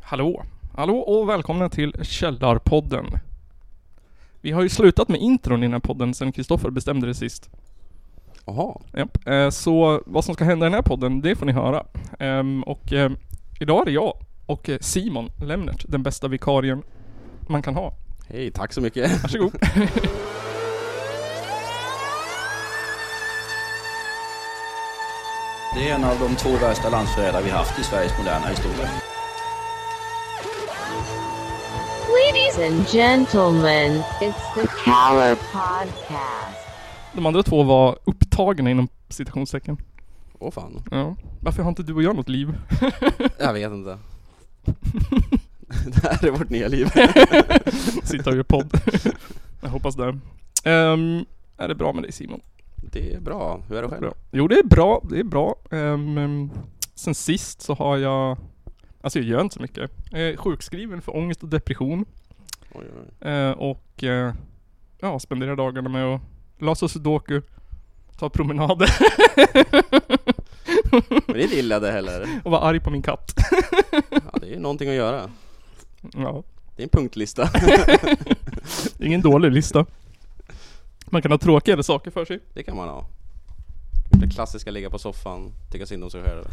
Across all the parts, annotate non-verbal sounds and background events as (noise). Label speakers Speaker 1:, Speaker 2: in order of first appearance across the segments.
Speaker 1: Hallå! Hallå och välkomna till Källarpodden. Vi har ju slutat med intron i den här podden sen Kristoffer bestämde det sist.
Speaker 2: Jaha,
Speaker 1: Japp. Eh, Så vad som ska hända i den här podden, det får ni höra. Ehm, Och eh, idag är det jag och eh, Simon Lemnert, den bästa vikarien man kan ha.
Speaker 2: hej tack så
Speaker 3: (laughs)
Speaker 2: mycket.
Speaker 1: Varsågod.
Speaker 3: Det är en av de två värsta landsförrädare vi haft i Sveriges moderna historia.
Speaker 4: Ladies and gentlemen, it's the Caller Podcast.
Speaker 1: De andra två var upptagna inom citationstecken.
Speaker 2: Åh fan,
Speaker 1: Ja. Varför har inte du och jag något liv? (laughs)
Speaker 2: jag vet inte. (laughs) det här är vårt nya liv.
Speaker 1: Sitta och göra podd. Jag hoppas det. Ehm, är det bra med dig Simon?
Speaker 2: Det är bra, hur är det själv?
Speaker 1: Bra. Jo, det är bra. Det är bra. Ehm, ehm, sen sist så har jag... Alltså jag gör inte så mycket. Jag är sjukskriven för ångest och depression.
Speaker 2: Oj, oj, oj.
Speaker 1: Eh, och eh, ja, spenderar dagarna med att lösa sudoku, ta promenader (laughs)
Speaker 2: Men det är inte illa det heller.
Speaker 1: och vara arg på min katt. (laughs)
Speaker 2: Ja, det är någonting att göra.
Speaker 1: Ja,
Speaker 2: Det är en (laughs) punktlista.
Speaker 1: det är ingen dålig lista. Man kan ha tråkigare saker för sig.
Speaker 2: Det kan man ha. Det klassiska ligga på soffan, tycka synd om sig själv.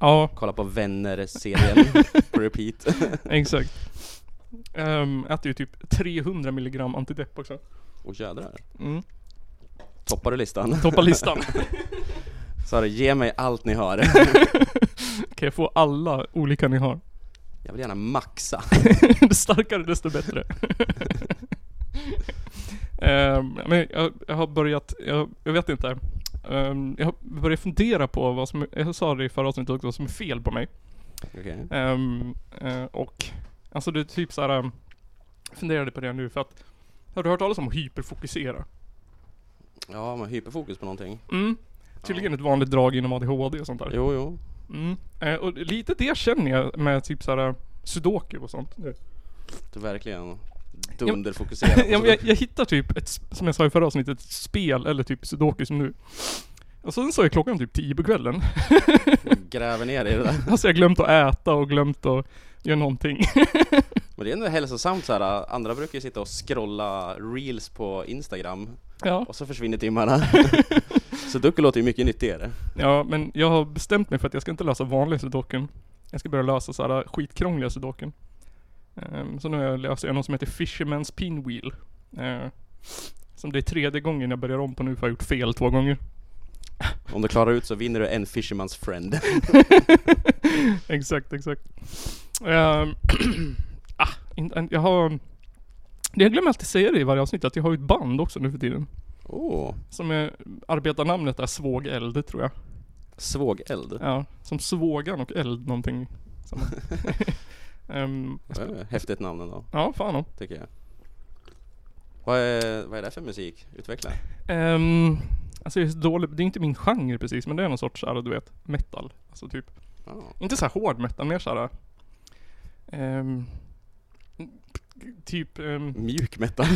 Speaker 1: Ja,
Speaker 2: Kolla på Vänner-serien på (laughs) repeat.
Speaker 1: exakt. Um, äter ju typ 300 milligram antidepp också.
Speaker 2: Och jädrar.
Speaker 1: Mm.
Speaker 2: Toppar du listan?
Speaker 1: Toppa listan.
Speaker 2: Så här, ge mig allt ni (laughs) har.
Speaker 1: kan jag få alla olika ni har?
Speaker 2: Jag vill gärna maxa.
Speaker 1: Ju (laughs) starkare desto bättre. (laughs) Ehm, men jag, jag har börjat, jag, jag vet inte. Ehm, jag har börjat fundera på vad som, jag sa det i förra avsnittet också, vad som är fel på mig.
Speaker 2: Okej.
Speaker 1: Ehm, eh, och, alltså det är typ så här. ehm, jag funderade på det nu för att, har du hört talas om att hyperfokusera?
Speaker 2: Ja, men hyperfokus på någonting.
Speaker 1: Mm. Tydligen ett vanligt drag inom ADHD och sånt där.
Speaker 2: Jo, jo.
Speaker 1: Mm. Eh, och lite det känner jag med typ så här sudoku och sånt.
Speaker 2: Du är verkligen dunderfokuserad. på
Speaker 1: (laughs) ja, men jag,
Speaker 2: saker.
Speaker 1: jag hittar typ ett, som jag sa i förra avsnittet, ett spel eller typ sudoku som nu. Och sen så är klockan typ 10 på kvällen. (laughs)
Speaker 2: Gräver ner i det där.
Speaker 1: Alltså jag har glömt att äta och glömt att göra någonting. (laughs)
Speaker 2: Men det är ändå hälsosamt så här. andra brukar ju sitta och scrolla reels på Instagram
Speaker 1: Ja,
Speaker 2: och så
Speaker 1: (laughs)
Speaker 2: försvinner timmarna. så Ducko låter ju mycket nyttigare.
Speaker 1: ja men jag har bestämt mig för att jag ska inte lösa vanliga sudokun. Jag ska börja lösa så här skitkrångliga sudokun. Ehm, så nu har jag löst jag någon som heter Fisherman's Pinwheel. Eh, som det är tredje gången jag börjar om på nu för jag har gjort fel två gånger.
Speaker 2: Om du klarar ut så vinner du en Fisherman's friend.
Speaker 1: (laughs) exakt, exakt. Ehm, (clears throat) ah, in, jag har... Det jag glömmer alltid säga det i varje avsnitt, att jag har ju ett band också nu för tiden.
Speaker 2: Åh,
Speaker 1: Som är, arbetarnamnet är Svågeld, tror jag.
Speaker 2: svågeld.
Speaker 1: Ja, som Svågan och Eld någonting. samma. (laughs) Ehm,
Speaker 2: Det är ett Häftigt namn ändå,
Speaker 1: ja, fan om.
Speaker 2: tycker jag. Vad är, vad är det för musik? Utveckla.
Speaker 1: Um, alltså jag är så dålig, det är inte min genre precis, men det är någon sorts såhär, du vet, metal. Alltså typ,
Speaker 2: Ja.
Speaker 1: inte så här hård metal, mer såhär... Um, typ... ehm, (laughs)
Speaker 2: Mjuk metal.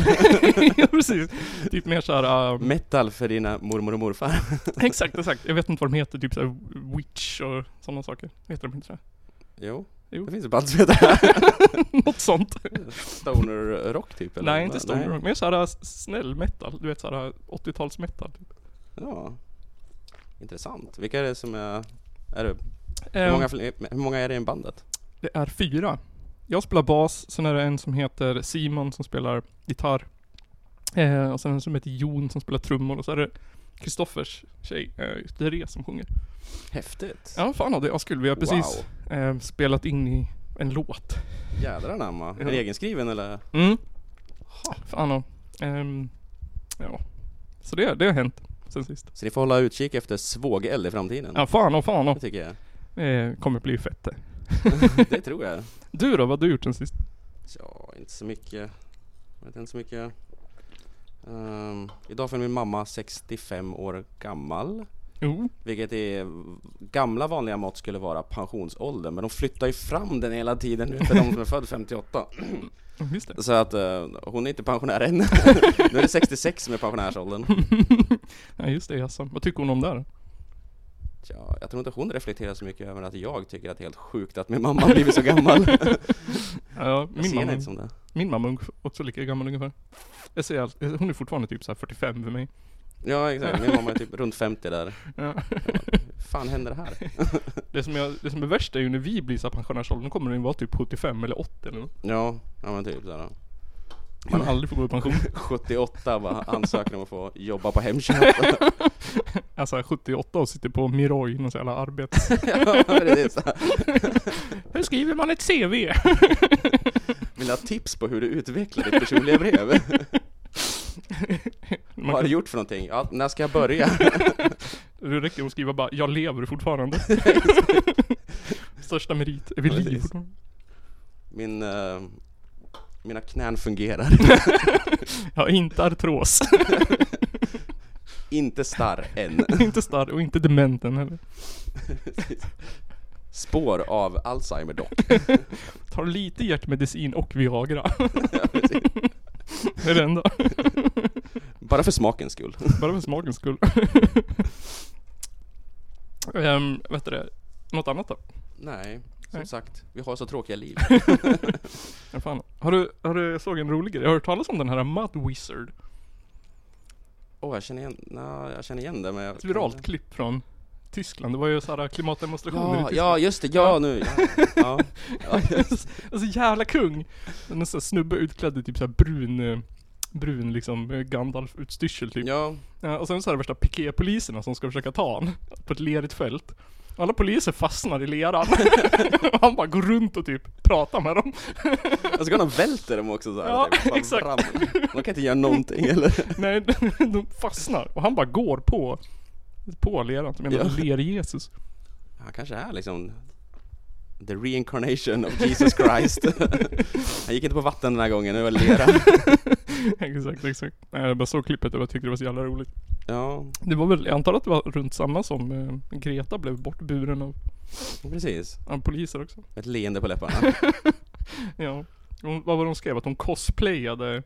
Speaker 1: ja precis. Typ mer såhär, um,
Speaker 2: metal för dina mormor och morfar.
Speaker 1: exakt, exakt. Jag vet inte vad de heter, typ såhär witch och sådana saker. Heter de inte det?
Speaker 2: Jo,
Speaker 1: Jo.
Speaker 2: det finns ett band som heter
Speaker 1: (laughs) Något sånt.
Speaker 2: Stoner Rock typ eller?
Speaker 1: Nej, inte stoner rock. Mer såhär snäll metal. Du vet uh, såhär 80-tals metal. Typ.
Speaker 2: Ja. Intressant. Vilka är det som är... är det, hur,
Speaker 1: Ehm,
Speaker 2: många, fl- hur många är det i bandet?
Speaker 1: Det är fyra. Jag spelar bas, sen är det en som heter Simon som spelar gitarr. Eh, och sen en som heter Jon som spelar trummor och så är det Kristoffers tjej, eh, Therese som sjunger.
Speaker 2: Häftigt.
Speaker 1: Ja, fan av det är askul. Vi har precis eh, spelat in i en låt.
Speaker 2: Jädrar anamma. Är
Speaker 1: Ja.
Speaker 2: det egenskriven eller?
Speaker 1: Mm. Fan och, ehm, Ja. Så det, det har hänt sen sist.
Speaker 2: Så ni får hålla utkik efter svågeld i framtiden.
Speaker 1: Ja, fan och fan
Speaker 2: Det
Speaker 1: och. (laughs)
Speaker 2: tycker jag.
Speaker 1: Eh, kommer bli fett det.
Speaker 2: Det tror jag.
Speaker 1: Du då, vad har du gjort sen sist?
Speaker 2: Ja, inte så mycket. Jag vet inte så mycket. Ehm, idag fyller min mamma 65 år gammal.
Speaker 1: Jo.
Speaker 2: Vilket i gamla vanliga mått skulle vara pensionsåldern. Men de flyttar ju fram den hela tiden nu för de som är född 58.
Speaker 1: Just det. (laughs)
Speaker 2: Så att eh, hon är inte pensionär än. nu är det 66 som är pensionärsåldern.
Speaker 1: Ja, just det, jaså. Vad tycker hon om det här?
Speaker 2: Tja, jag tror inte hon reflekterar så mycket över att jag tycker att det är helt sjukt att min mamma har blivit så gammal.
Speaker 1: (laughs) Ja,
Speaker 2: Jag
Speaker 1: min,
Speaker 2: ser henne
Speaker 1: mamma,
Speaker 2: inte som det.
Speaker 1: min mamma är ungef- också lika gammal ungefär. Jag ser allt, hon är fortfarande typ så här 45 för mig.
Speaker 2: Ja exakt, min mamma är typ runt 50 där.
Speaker 1: Ja.
Speaker 2: fan händer det här?
Speaker 1: (laughs) Det, som jag, det som är värst är ju när vi blir så här pensionärsåldern, då kommer den ju vara typ 75 eller 80 eller något.
Speaker 2: Ja, ja men typ såhär.
Speaker 1: Man aldrig får gå i pension.
Speaker 2: 78 bara ansöker om att få jobba på Hemköp. (laughs)
Speaker 1: Alltså 78 och sitter på Miroi, någon sån jävla arbete.
Speaker 2: ja, precis.
Speaker 1: Hur skriver man ett CV?
Speaker 2: Vill du ha tips på hur du utvecklar ditt personliga brev? Vad har
Speaker 1: Man
Speaker 2: du
Speaker 1: kan,
Speaker 2: gjort för någonting? Ja, när ska jag börja?
Speaker 1: det räcker att skriva bara 'Jag lever fortfarande' Största merit, är vi
Speaker 2: Ja,
Speaker 1: liv
Speaker 2: precis.
Speaker 1: fortfarande?
Speaker 2: Min, eh, mina knän fungerar.
Speaker 1: Jag har inte artros, (laughs)
Speaker 2: Inte starr än.
Speaker 1: inte starr och inte dementen heller.
Speaker 2: Spår av Alzheimer dock. (laughs)
Speaker 1: Tar lite hjärtmedicin och Viagra.
Speaker 2: Ja, precis.
Speaker 1: Det är det enda.
Speaker 2: Bara för smakens skull.
Speaker 1: Bara för smakens skull. um, vet du det? Något annat då?
Speaker 2: Nej, som
Speaker 1: Nej.
Speaker 2: sagt, vi har så tråkiga liv.
Speaker 1: Ja, fan. Har du, har du, jag såg en rolig grej. Har du hört talas om den här Mud Wizard?
Speaker 2: Åh, jag känner igen, na, jag känner igen det men jag...
Speaker 1: Ett viralt klipp från Tyskland. Det var ju såhär klimatdemonstrationer i
Speaker 2: Ja,
Speaker 1: Tyskland.
Speaker 2: ja just det, ja nu! Ja,
Speaker 1: (laughs)
Speaker 2: ja. ja just.
Speaker 1: Alltså jävla kung! En sån här snubbe utklädd i typ såhär brun, eh, brun liksom eh, Gandalf-utstyrsel typ.
Speaker 2: ja.
Speaker 1: Ja, och sen så är det värsta piképoliserna som ska försöka ta han på ett lerigt fält. Alla poliser fastnar i
Speaker 2: (laughs)
Speaker 1: leran. och han bara går runt och typ pratar med dem.
Speaker 2: Och så går han och välter dem också såhär
Speaker 1: Ja,
Speaker 2: typ. Bara
Speaker 1: exakt.
Speaker 2: ramlar. De kan inte göra någonting eller?
Speaker 1: (laughs) Nej, de fastnar. Och han bara går på, på leran. Som menar
Speaker 2: Ja.
Speaker 1: ler-Jesus. (laughs)
Speaker 2: Han kanske är liksom The reincarnation of Jesus
Speaker 1: (laughs)
Speaker 2: Christ Han gick inte på vatten den här gången, nu var det lera
Speaker 1: exakt, exakt. Nej, jag bara såg klippet och jag tyckte det var så jävla roligt.
Speaker 2: Ja,
Speaker 1: Det var väl, jag antar att det var runt samma som eh, Greta blev bortburen av,
Speaker 2: precis
Speaker 1: av poliser också.
Speaker 2: Ett leende på läpparna
Speaker 1: Ja. Hon, vad var det hon skrev? Att hon cosplayade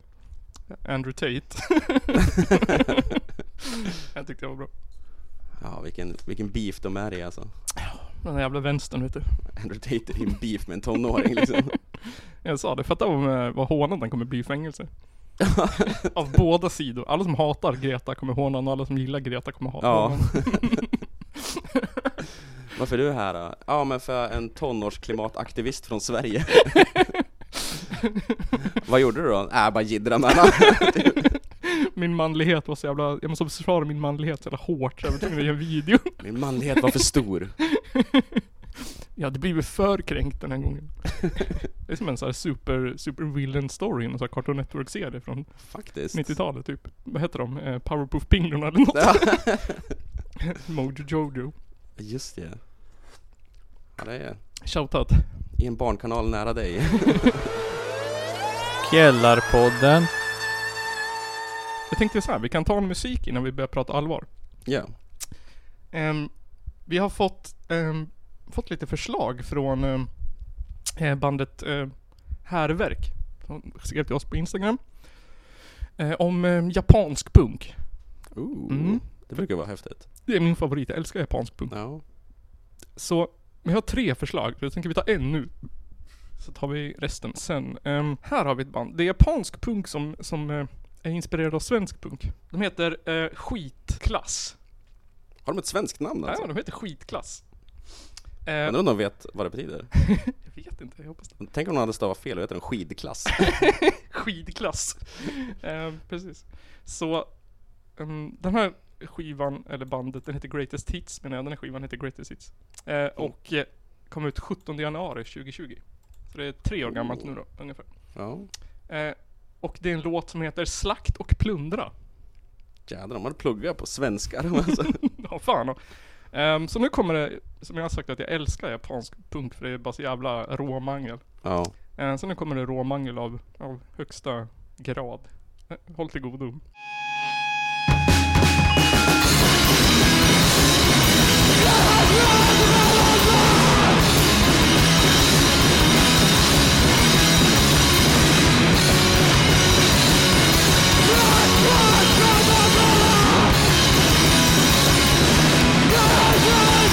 Speaker 1: Andrew (laughs) Tate. jag tyckte det var bra.
Speaker 2: Ja, vilken, vilken beef de är i alltså
Speaker 1: Den där jävla vänstern vet du.
Speaker 2: Andrew Tate är i en beef med en tonåring liksom
Speaker 1: Jag sa det, fatta vad, vad hånad den kommer bli i (laughs) fängelse. Av båda sidor. Alla som hatar Greta kommer håna honom och alla som gillar Greta kommer hata
Speaker 2: Ja.
Speaker 1: honom.
Speaker 2: (laughs) Varför är du här då? Ja men för jag är en tonårsklimataktivist från Sverige (laughs) Vad gjorde du då? Äh, bara jiddrade med honom
Speaker 1: Min manlighet var så jävla, jag måste försvara min manlighet så jävla hårt så jag var tvungen att göra en video.
Speaker 2: (laughs) Min manlighet var för stor
Speaker 1: Jag hade blivit för kränkt den här gången. Det är som en sån här super, super villain story, en sån här Cartoon Network-serie från
Speaker 2: Faktiskt
Speaker 1: 90-talet typ. Vad heter de? Eh, Powerpuff Pinglorna eller något? (laughs) Mojo Jojo.
Speaker 2: Just det Ja det är
Speaker 1: Shoutout.
Speaker 2: i en barnkanal nära dig
Speaker 5: Källarpodden.
Speaker 1: Jag tänkte så här, vi kan ta en musik innan vi börjar prata allvar.
Speaker 2: Ja,
Speaker 1: Ehm, vi har fått, ehm, fått lite förslag från ehm, eh, bandet uh, Härverk. De skrev till oss på Instagram. eh, om ehm, japansk punk.
Speaker 2: Ooh,
Speaker 1: Mm.
Speaker 2: det brukar vara häftigt.
Speaker 1: Det är min favorit, jag älskar japansk punk.
Speaker 2: Ja,
Speaker 1: Så vi har tre förslag, så jag tänker vi ta en nu. Så tar vi resten sen. Ehm, här har vi ett band. Det är japansk punk som, som eh, är inspirerad av svensk punk. De heter eh, Skitklass.
Speaker 2: har de ett svenskt namn alltså?
Speaker 1: Ja, de heter Skitklass. Eh,
Speaker 2: Jag undrar om de vet vad det betyder?
Speaker 1: jag vet inte, jag hoppas det.
Speaker 2: Tänk om de hade stavat fel och heter de skidklass?
Speaker 1: Skitklass. (laughs) Ehm, precis. Så ehm, den här skivan, eller bandet, den heter Greatest Hits menar jag. Den här skivan heter Greatest Hits. Eh, och eh, kom ut 17 januari 2020. Så det är tre år gammalt nu då, ungefär.
Speaker 2: Ja,
Speaker 1: Eh, och det är en låt som heter Slakt och plundra. (laughs)
Speaker 2: jädrar de hade pluggat på svenska de alltså.
Speaker 1: Ja, fan. Ehm, så nu kommer det, som jag har sagt att jag älskar japansk punk för det är bara så jävla råmangel.
Speaker 2: Ja,
Speaker 1: Eh, så nu kommer det råmangel av, av högsta grad. Eh, håll till godo.
Speaker 6: Slakt och plundra!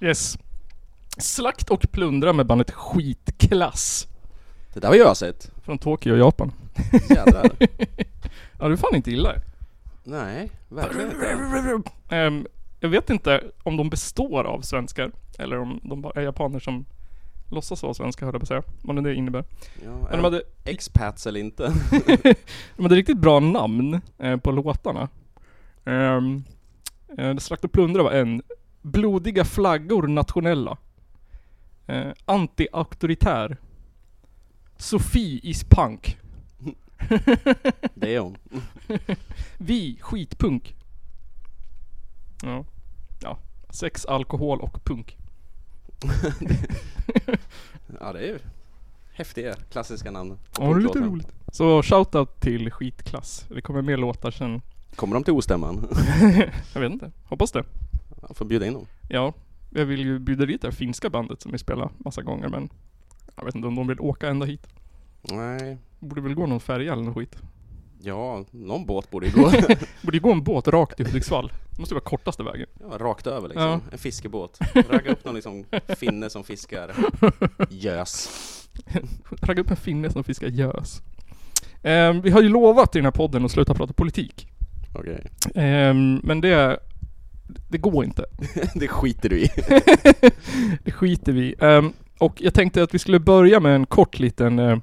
Speaker 1: Yes. Slakt och plundra med bandet Skitklass.
Speaker 2: Det där har jag sett.
Speaker 1: Från Tokyo, Japan.
Speaker 2: Jävlar.
Speaker 1: Ja, du är fan inte illa.
Speaker 2: (laughs) Nej, verkligen inte.
Speaker 1: Ehm, jag vet inte om de består av svenskar. Eller om de bara är japaner som låtsas vara svenskar, hörde jag på säga. Vad nu det innebär.
Speaker 2: Ja,
Speaker 1: Men
Speaker 2: är
Speaker 1: de
Speaker 2: de
Speaker 1: hade,
Speaker 2: expats eller inte?
Speaker 1: de hade riktigt bra namn eh, på låtarna. Ehm, eh, Slakt och plundra var en. Blodiga flaggor nationella. Eh, Anti-auktoritär. Sofie is punk.
Speaker 2: Det är hon.
Speaker 1: Vi skitpunk. Ja. Ja. Sex, alkohol och punk.
Speaker 2: (laughs) Ja, det är ju häftiga klassiska namn. på
Speaker 1: Ja, det är lite
Speaker 2: punklåten.
Speaker 1: roligt. Så shoutout till skitklass. Det kommer mer låtar sen.
Speaker 2: Kommer de till ostämman?
Speaker 1: Jag vet inte. Hoppas det.
Speaker 2: Ja, Får bjuda in dem.
Speaker 1: Ja, jag vill ju bjuda dit det här finska bandet som vi spelar massa gånger men jag vet inte om de vill åka ända hit.
Speaker 2: Nej.
Speaker 1: Borde väl gå någon färja eller något skit.
Speaker 2: Ja, någon båt borde ju (laughs) gå.
Speaker 1: (laughs) Borde ju gå en båt rakt till Hudiksvall. Det måste ju vara kortaste vägen. (laughs)
Speaker 2: Ja, rakt över liksom.
Speaker 1: Ja.
Speaker 2: En fiskebåt. Ragga upp någon liksom finne som fiskar gös.
Speaker 1: Ragga upp en finne som fiskar gös. Ehm, vi har ju lovat i den här podden att sluta prata politik.
Speaker 2: Okej. (laughs)
Speaker 1: Ehm, men det... Det går inte.
Speaker 2: det skiter du i.
Speaker 1: Det skiter vi i. Ehm, Och jag tänkte att vi skulle börja med en kort liten, eh,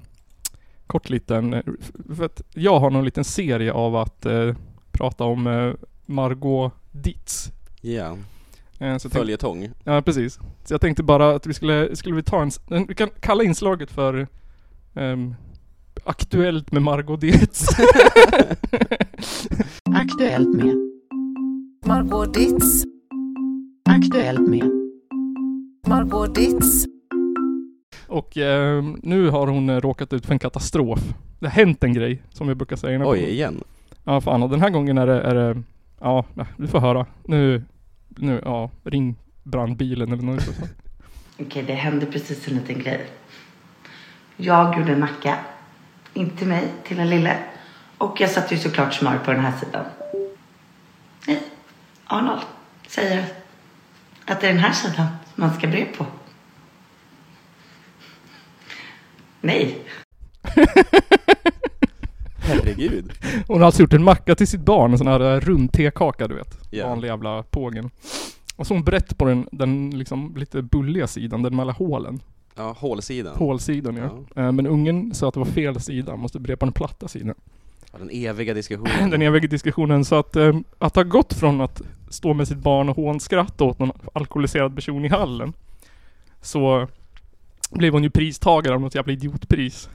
Speaker 1: kort liten, eh, f- för att jag har någon liten serie av att eh, prata om eh, Margot Ditz.
Speaker 2: Ja.
Speaker 1: Eh, så jag tänkte,
Speaker 2: Följetong.
Speaker 1: ja, precis. Så jag tänkte bara att vi skulle, skulle vi ta en, s- en vi kan kalla inslaget för ehm, Aktuellt med Margot Ditz.
Speaker 5: Aktuellt med Margot Ditz. Aktuellt med Margot Ditz.
Speaker 1: Och ehm, nu har hon eh, råkat ut för en katastrof. Det har hänt en grej, som jag brukar säga. i den här
Speaker 2: Oj,
Speaker 1: podden.
Speaker 2: igen.
Speaker 1: Ja fan och den här gången är det, är det ja nej, du får höra. Nu, nu, ja ring brandbilen eller något sånt.
Speaker 6: Okej, det hände precis en liten grej. Jag gjorde en macka, inte till mig, till en lille. Och jag satte ju såklart smör på den här sidan. Nej, Arnold säger att det är den här sidan som man ska bre på. Nej,
Speaker 2: Herregud.
Speaker 1: (laughs) Hon har alltså gjort en macka till sitt barn, en sån här eh, rund tekaka du vet.
Speaker 2: Ja.
Speaker 1: Vanlig jävla pågen. Och så har hon brett på den, den liksom lite bulliga sidan, den med alla hålen.
Speaker 2: Ja, hålsidan.
Speaker 1: Hålsidan ja. Eh, Men ungen sa att det var fel sida, måste bre på den platta sidan.
Speaker 2: Ja, den eviga
Speaker 1: (clears throat) (laughs)
Speaker 2: diskussionen.
Speaker 1: Den eviga diskussionen, så att, eh, att ha gått från att stå med sitt barn och hånskratta åt någon alkoholiserad person i hallen, så blev hon ju pristagare av något jävla idiotpris.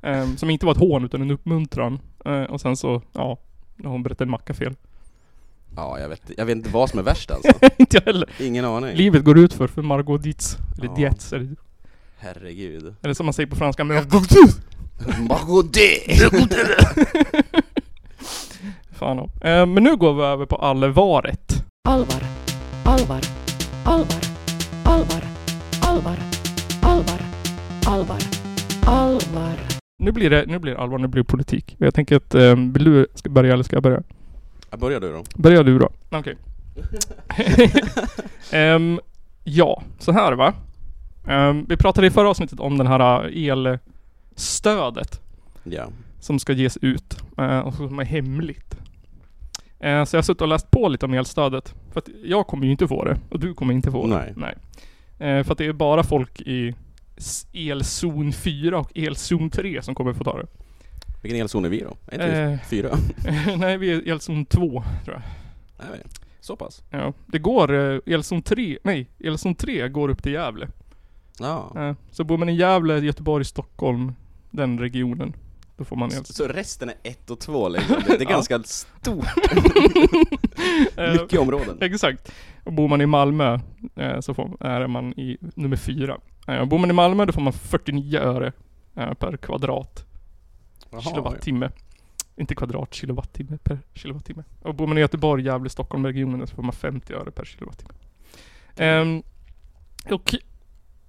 Speaker 1: Ehm, som inte var ett hån utan en uppmuntran. Eh, och sen så, ja, nu har hon berättat en macka fel. (laughs)
Speaker 2: Ja, jag vet, jag vet inte vad som är värst alltså.
Speaker 1: inte jag heller.
Speaker 2: Ingen aning.
Speaker 1: Livet går ut för, för Margot Dietz. Eller
Speaker 2: Ja.
Speaker 1: Dietz, eller,
Speaker 2: Herregud.
Speaker 1: eller som man säger på franska, men
Speaker 2: Margot
Speaker 1: (laughs) Fan om. Eh, Men nu går vi över på allvaret.
Speaker 5: Alvar. Alvar. Alvar. Alvar. Alvar. Alvar. Alvar. Alvar.
Speaker 1: Nu blir det, nu blir det allvar, nu blir det politik. Jag tänker att, eh, vill du ska börja eller ska jag börja?
Speaker 2: Ja, börjar du då.
Speaker 1: Börja du då. Okej. Ehm, ja, så här va. Ehm, vi pratade i förra avsnittet om den här eh, elstödet
Speaker 2: Ja.
Speaker 1: som ska ges ut eh, och som är hemligt. Eh, så jag har suttit och läst på lite om elstödet. För att jag kommer ju inte få det och du kommer inte få det.
Speaker 2: Nej.
Speaker 1: Eh, för att det är bara folk i s- elzon 4 och elzon 3 som kommer få ta det.
Speaker 2: Vilken elzon är vi då? Är inte
Speaker 1: Eh,
Speaker 2: vi (laughs) fyra?
Speaker 1: (laughs) nej, vi är i elzon 2.
Speaker 2: Nej, så pass.
Speaker 1: Ja, det går eh, elzon 3, nej, elzon 3 går upp till Gävle.
Speaker 2: Ja.
Speaker 1: Eh, Så bor man i Gävle, Göteborg, Stockholm, den regionen, då får man elzon.
Speaker 2: Så resten är ett och två liksom. Det är ganska stort.
Speaker 1: (laughs) Eh,
Speaker 2: (laughs) Mycket områden.
Speaker 1: Exakt. Och bor man i Malmö eh, så får, är man i nummer 4. Eh, bor man i Malmö då får man 49 öre eh, per kvadrat
Speaker 2: Jaha,
Speaker 1: kilowattimme. Inte kvadrat, kilowattimme per kilowattimme. Och bor man i Göteborg, Gävle, Stockholm, regionen så får man 50 öre per kilowattimme. Ehm, och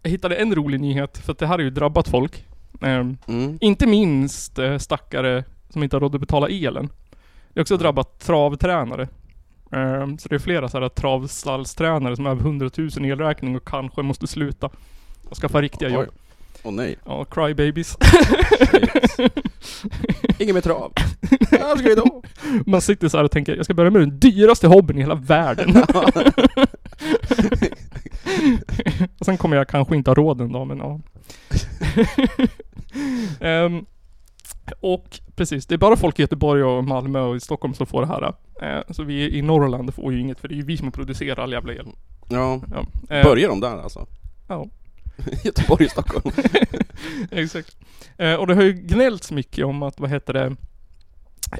Speaker 1: jag hittade en rolig nyhet, för att det här har ju drabbat folk. Ehm,
Speaker 2: ja. Mm.
Speaker 1: inte minst eh, stackare som inte har råd att betala elen. Det har också drabbat travtränare. Ehm, Så det är flera så här travstallstränare som har över 100 000 i elräkning och kanske måste sluta och skaffa riktiga jobb.
Speaker 2: Åh
Speaker 1: (laughs)
Speaker 2: nej.
Speaker 1: Ja, crybabies.
Speaker 2: Shit. Inget mer trav. Ja, vad ska
Speaker 1: (laughs)
Speaker 2: vi då?
Speaker 1: Man sitter så här och tänker, jag ska börja med den dyraste hobbyn i hela världen. (laughs) och sen kommer jag kanske inte ha råd en dag, men ja. Ehm, och precis, det är bara folk i Göteborg och Malmö och i Stockholm som får det här. Eh, så vi i Norrland får ju inget, för det är ju vi som producerar all jävla el.
Speaker 2: Ja,
Speaker 1: Ja. Eh,
Speaker 2: börjar de där alltså?
Speaker 1: Ja.
Speaker 2: (laughs) Göteborg och Stockholm.
Speaker 1: (laughs) Exakt. Eh, och det har ju gnällts mycket om att, vad heter det,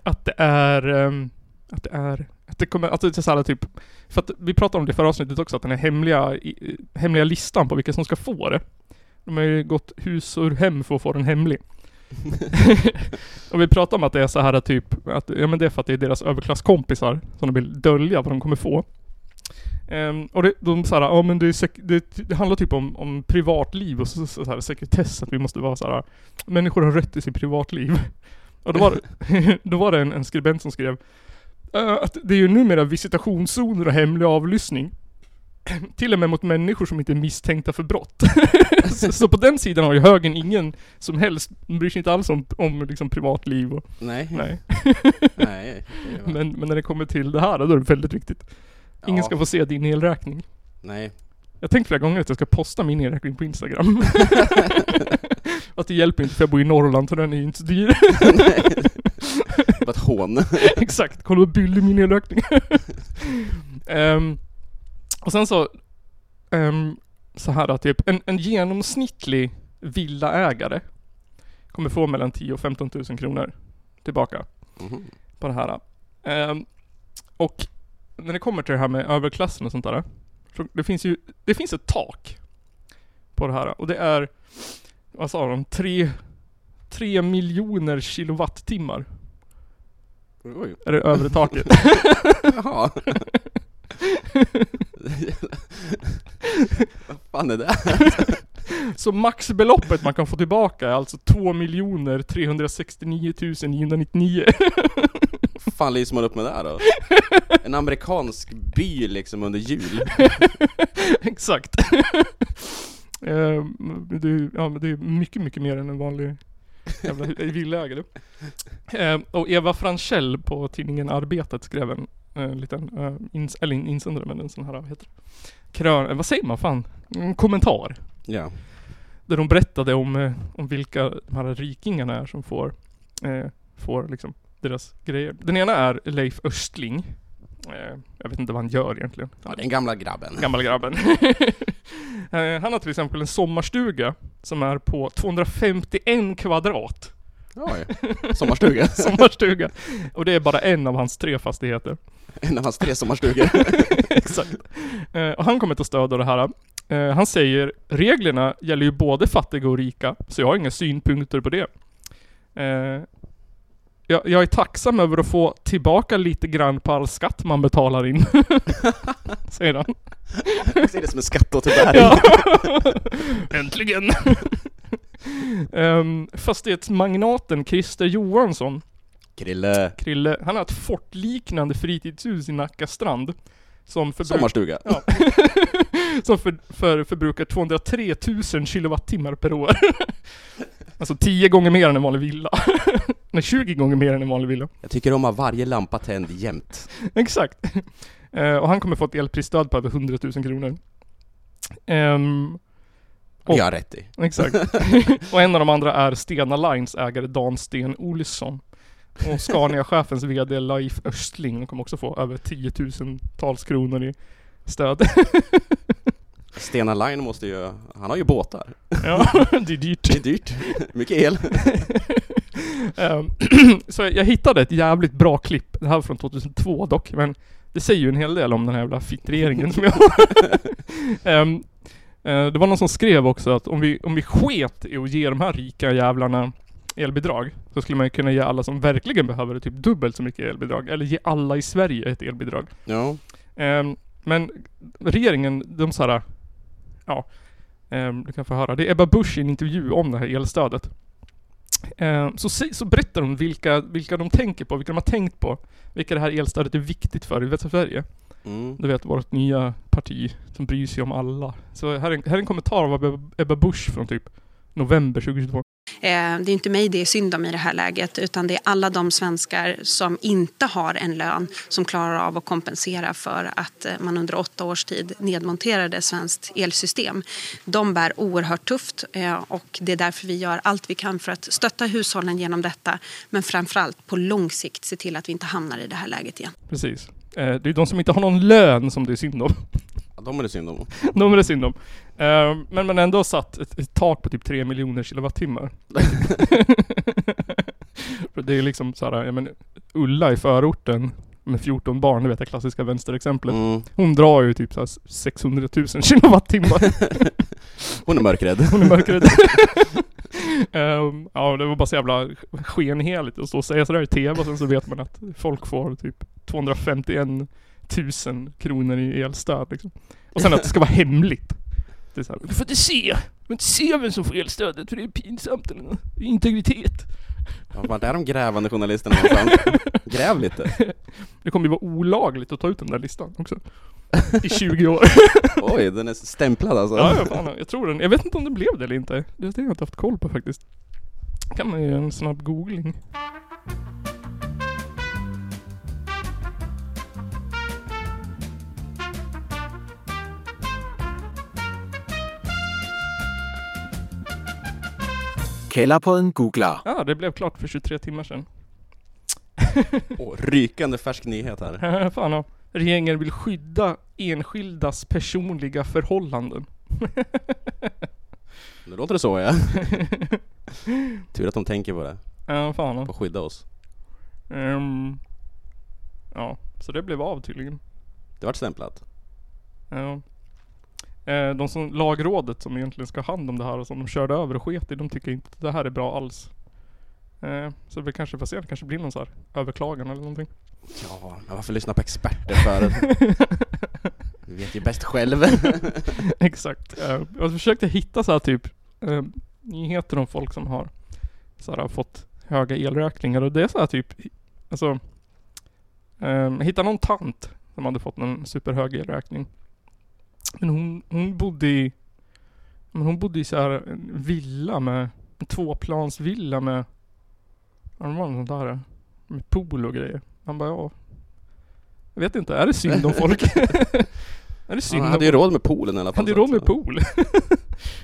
Speaker 1: att det är, ehm, att det är, att det kommer, att det är så här typ, för att vi pratade om det i förra avsnittet också, att den här hemliga, i- hemliga listan på vilka som ska få det. De har ju gått hus och hem för att få den hemlig. (laughs) och vi pratade om att det är så här typ, att, ja men det är för att det är deras överklasskompisar som de vill dölja vad de kommer få. Ehm, och det, de såhär, ja men det, är sek- det, det handlar typ om, om privatliv och så, så, så här, sekretess, att vi måste vara såhär, människor har rätt till sitt privatliv. (laughs) Och då var, det- (laughs) då var det en, en skribent som skrev, eh, att det är ju numera visitationszoner och hemlig avlyssning. (clears throat) Till och med mot människor som inte är misstänkta för brott. (laughs) så, så på den sidan har ju högern ingen som helst, de bryr sig inte alls om, om liksom privatliv och,
Speaker 2: Nej.
Speaker 1: nej.
Speaker 2: (laughs) Nej. det
Speaker 1: (laughs)
Speaker 2: var-
Speaker 1: Men, men när det kommer till det här, då är det väldigt viktigt. Ingen
Speaker 2: Ja,
Speaker 1: ska få se din elräkning.
Speaker 2: Nej.
Speaker 1: Jag tänkt flera gånger att jag ska posta min elräkning på
Speaker 2: (laughs)
Speaker 1: Instagram. (laughs) att det hjälper inte för jag bor i Norrland så den är ju inte så dyr.
Speaker 2: Det var ett hån.
Speaker 1: (laughs) Exakt, kolla vad billig min elräkning um, Och sen så, um, så här då, typ en, en genomsnittlig villaägare kommer få mellan 10 000 och 15 000 kronor tillbaka.
Speaker 2: Mhm.
Speaker 1: på det här. Ehm, och när det kommer till det här med överklassen och sånt där. Så det finns ju, det finns ett tak på det här. Och det är, vad sa de, tre, tre miljoner kilowattimmar
Speaker 2: Oj.
Speaker 1: är det övre taket.
Speaker 2: Jaha. (laughs) Vad fan är det?
Speaker 1: (laughs) Så maxbeloppet man kan få tillbaka är alltså 2 369 999.
Speaker 2: Vad fan lyser man upp med det då? En amerikansk by liksom under jul.
Speaker 1: (laughs) Exakt. Ehm, det, är- ja, men det är mycket, mycket mer än en vanlig jävla hu- villaägare. Ehm, och Eva Franchell på tidningen Arbetet skrev en eh, liten, eh, ins- eller en insändare men en sån här, vad heter det? Krön, eh, vad säger man fan? En kommentar.
Speaker 2: Ja.
Speaker 1: Där hon berättade om, eh, om vilka de här rikingarna är som får, eh, får liksom deras grejer. Den ena är Leif Östling. Eh, jag vet inte vad han gör egentligen.
Speaker 2: ja, den gamla grabben.
Speaker 1: Gammal grabben. Eh, Han har till exempel en sommarstuga som är på 251 kvadrat.
Speaker 2: Oj. Sommarstuga.
Speaker 1: Sommarstuga. Och det är bara en av hans tre fastigheter.
Speaker 2: En av hans tre (laughs) sommarstugor.
Speaker 1: (laughs) Exakt. Eh, Och han kommer inte att stödja det här. Eh, Han säger reglerna gäller ju både fattiga och rika, så jag har inga synpunkter på det. Eh, Jag, jag är tacksam över att få tillbaka lite grann på all skatt man betalar in. (laughs) Säger han.
Speaker 2: Jag ser det som en skatteåterbäring.
Speaker 1: Ja. (laughs) Äntligen! um, fastighetsmagnaten Christer Johansson,
Speaker 2: Krille.
Speaker 1: Krille, han har ett fortliknande fritidshus i Nacka strand. Som, förbruk-
Speaker 2: Sommarstuga.
Speaker 1: som för, för, förbrukar 203 000 kilowattimmar per år. (laughs) alltså 10 gånger mer än en vanlig villa. (laughs) Nej, 20 gånger mer än en vanlig villa.
Speaker 2: Jag tycker om att ha varje lampa tänd jämt.
Speaker 1: Exakt. Eh, och han kommer få ett elprisstöd på över 100 000 kronor. Ehm,
Speaker 2: Det
Speaker 1: Och-
Speaker 2: gör jag rätt i.
Speaker 1: Exakt. och en av de andra är Stena Lines ägare Dan Sten Olsson. Och Scania-chefens VD Leif Östling kommer också få över 10 000-tals kronor i stöd. (laughs)
Speaker 2: Stena Line måste ju... Han har ju båtar.
Speaker 1: ja, det är dyrt.
Speaker 2: Det är dyrt. Mycket el.
Speaker 1: Ehm, (clears throat) Så jag hittade ett jävligt bra klipp, det här var från 2002 dock, men det säger ju en hel del om den här jävla fittregeringen som jag (laughs) Ehm, eh, Det var någon som skrev också att om vi, om vi sket i att ge de här rika jävlarna elbidrag, så skulle man ju kunna ge alla som verkligen behöver det typ dubbelt så mycket elbidrag, eller ge alla i Sverige ett elbidrag.
Speaker 2: Ja.
Speaker 1: Ehm, men regeringen, de så här, ja, ehm, du kan få höra. Det är Ebba Busch i en intervju om det här elstödet. Eh, så, se- så berättar de vilka, vilka de tänker på, vilka de har tänkt på. Vilka det här elstödet är viktigt för i västra Sverige.
Speaker 2: Mm.
Speaker 1: Du vet, vårt nya parti som bryr sig om alla. Så här är en, här är en kommentar av Ebba- Ebba Busch från typ november 2022.
Speaker 7: Eh, Det är inte mig det är synd om i det här läget utan det är alla de svenskar som inte har en lön som klarar av att kompensera för att eh, man under åtta års tid nedmonterade svenskt elsystem. De bär oerhört tufft eh, och det är därför vi gör allt vi kan för att stötta hushållen genom detta men framförallt på lång sikt se till att vi inte hamnar i det här läget igen.
Speaker 1: Precis. Eh, det är de som inte har någon lön som det är synd om.
Speaker 2: Ja, de är det synd om.
Speaker 1: de är det synd om. Eh, men man har ändå satt ett, ett tak på typ 3 miljoner kilowattimmar. För det är liksom så här, ja men Ulla i förorten med 14 barn, du vet det klassiska vänsterexemplet.
Speaker 2: Mm.
Speaker 1: Hon drar ju typ så här 600 000 kilowattimmar.
Speaker 2: Hon är mörkrädd.
Speaker 1: Hon är (laughs) mörkrädd. Ehm, ja, det var bara så jävla skenheligt att stå och säga sådär i TV och sen så vet man att folk får typ 251 000 kronor i elstöd liksom. Och sen att det ska vara hemligt. Det är så här, du får inte se! Du får inte se vem som får elstödet för det är pinsamt eller något. Det är integritet.
Speaker 2: Ja, vart är de grävande journalisterna någonstans? Gräv lite.
Speaker 1: Det kommer ju vara olagligt att ta ut den där listan också. (laughs) I 20 år.
Speaker 2: Oj, den är stämplad alltså.
Speaker 1: Ja, ja, fan, jag tror den. Jag vet inte om det blev det eller inte. Det har jag inte haft koll på faktiskt. Kan man ju göra en snabb googling.
Speaker 8: Källarpodden googlar.
Speaker 1: Ja, det blev klart för 23 timmar sedan. (laughs)
Speaker 2: Åh, rykande färsk nyhet här.
Speaker 1: Fan ja. Regeringen vill skydda enskildas personliga förhållanden.
Speaker 2: Nu låter
Speaker 1: (laughs)
Speaker 2: det så ja. Tur att de tänker på det,
Speaker 1: Ja, fan ja.
Speaker 2: på att skydda oss.
Speaker 1: Ehm, ja, så det blev av tydligen.
Speaker 2: Det vart stämplat.
Speaker 1: Ja. Eh, De som, lagrådet som egentligen ska ha hand om det här och som de körde över och sket i, de tycker inte att det här är bra alls. Eh, Så vi kanske får se, det kanske blir någon så här överklagan eller någonting. (laughs)
Speaker 2: Ja, men varför lyssna på experter för? Vi vet ju
Speaker 1: (laughs)
Speaker 2: bäst själv.
Speaker 1: Exakt. Eh, Jag försökte hitta så här typ eh, nyheter om folk som har så här, fått höga elräkningar och det är så här typ, alltså, um, hitta någon tant som hade fått någon superhög elräkning. Men hon, hon bodde i, men hon bodde i så här en villa med, en tvåplansvilla med, ja det var något sånt där, eh, med pool och grejer. Man bara ja, jag vet inte, är det synd om folk? är det synd
Speaker 2: Han
Speaker 1: om
Speaker 2: hade ju råd med poolen i alla fall.
Speaker 1: han hade ju
Speaker 2: så
Speaker 1: råd med
Speaker 2: att-
Speaker 1: pool. (laughs)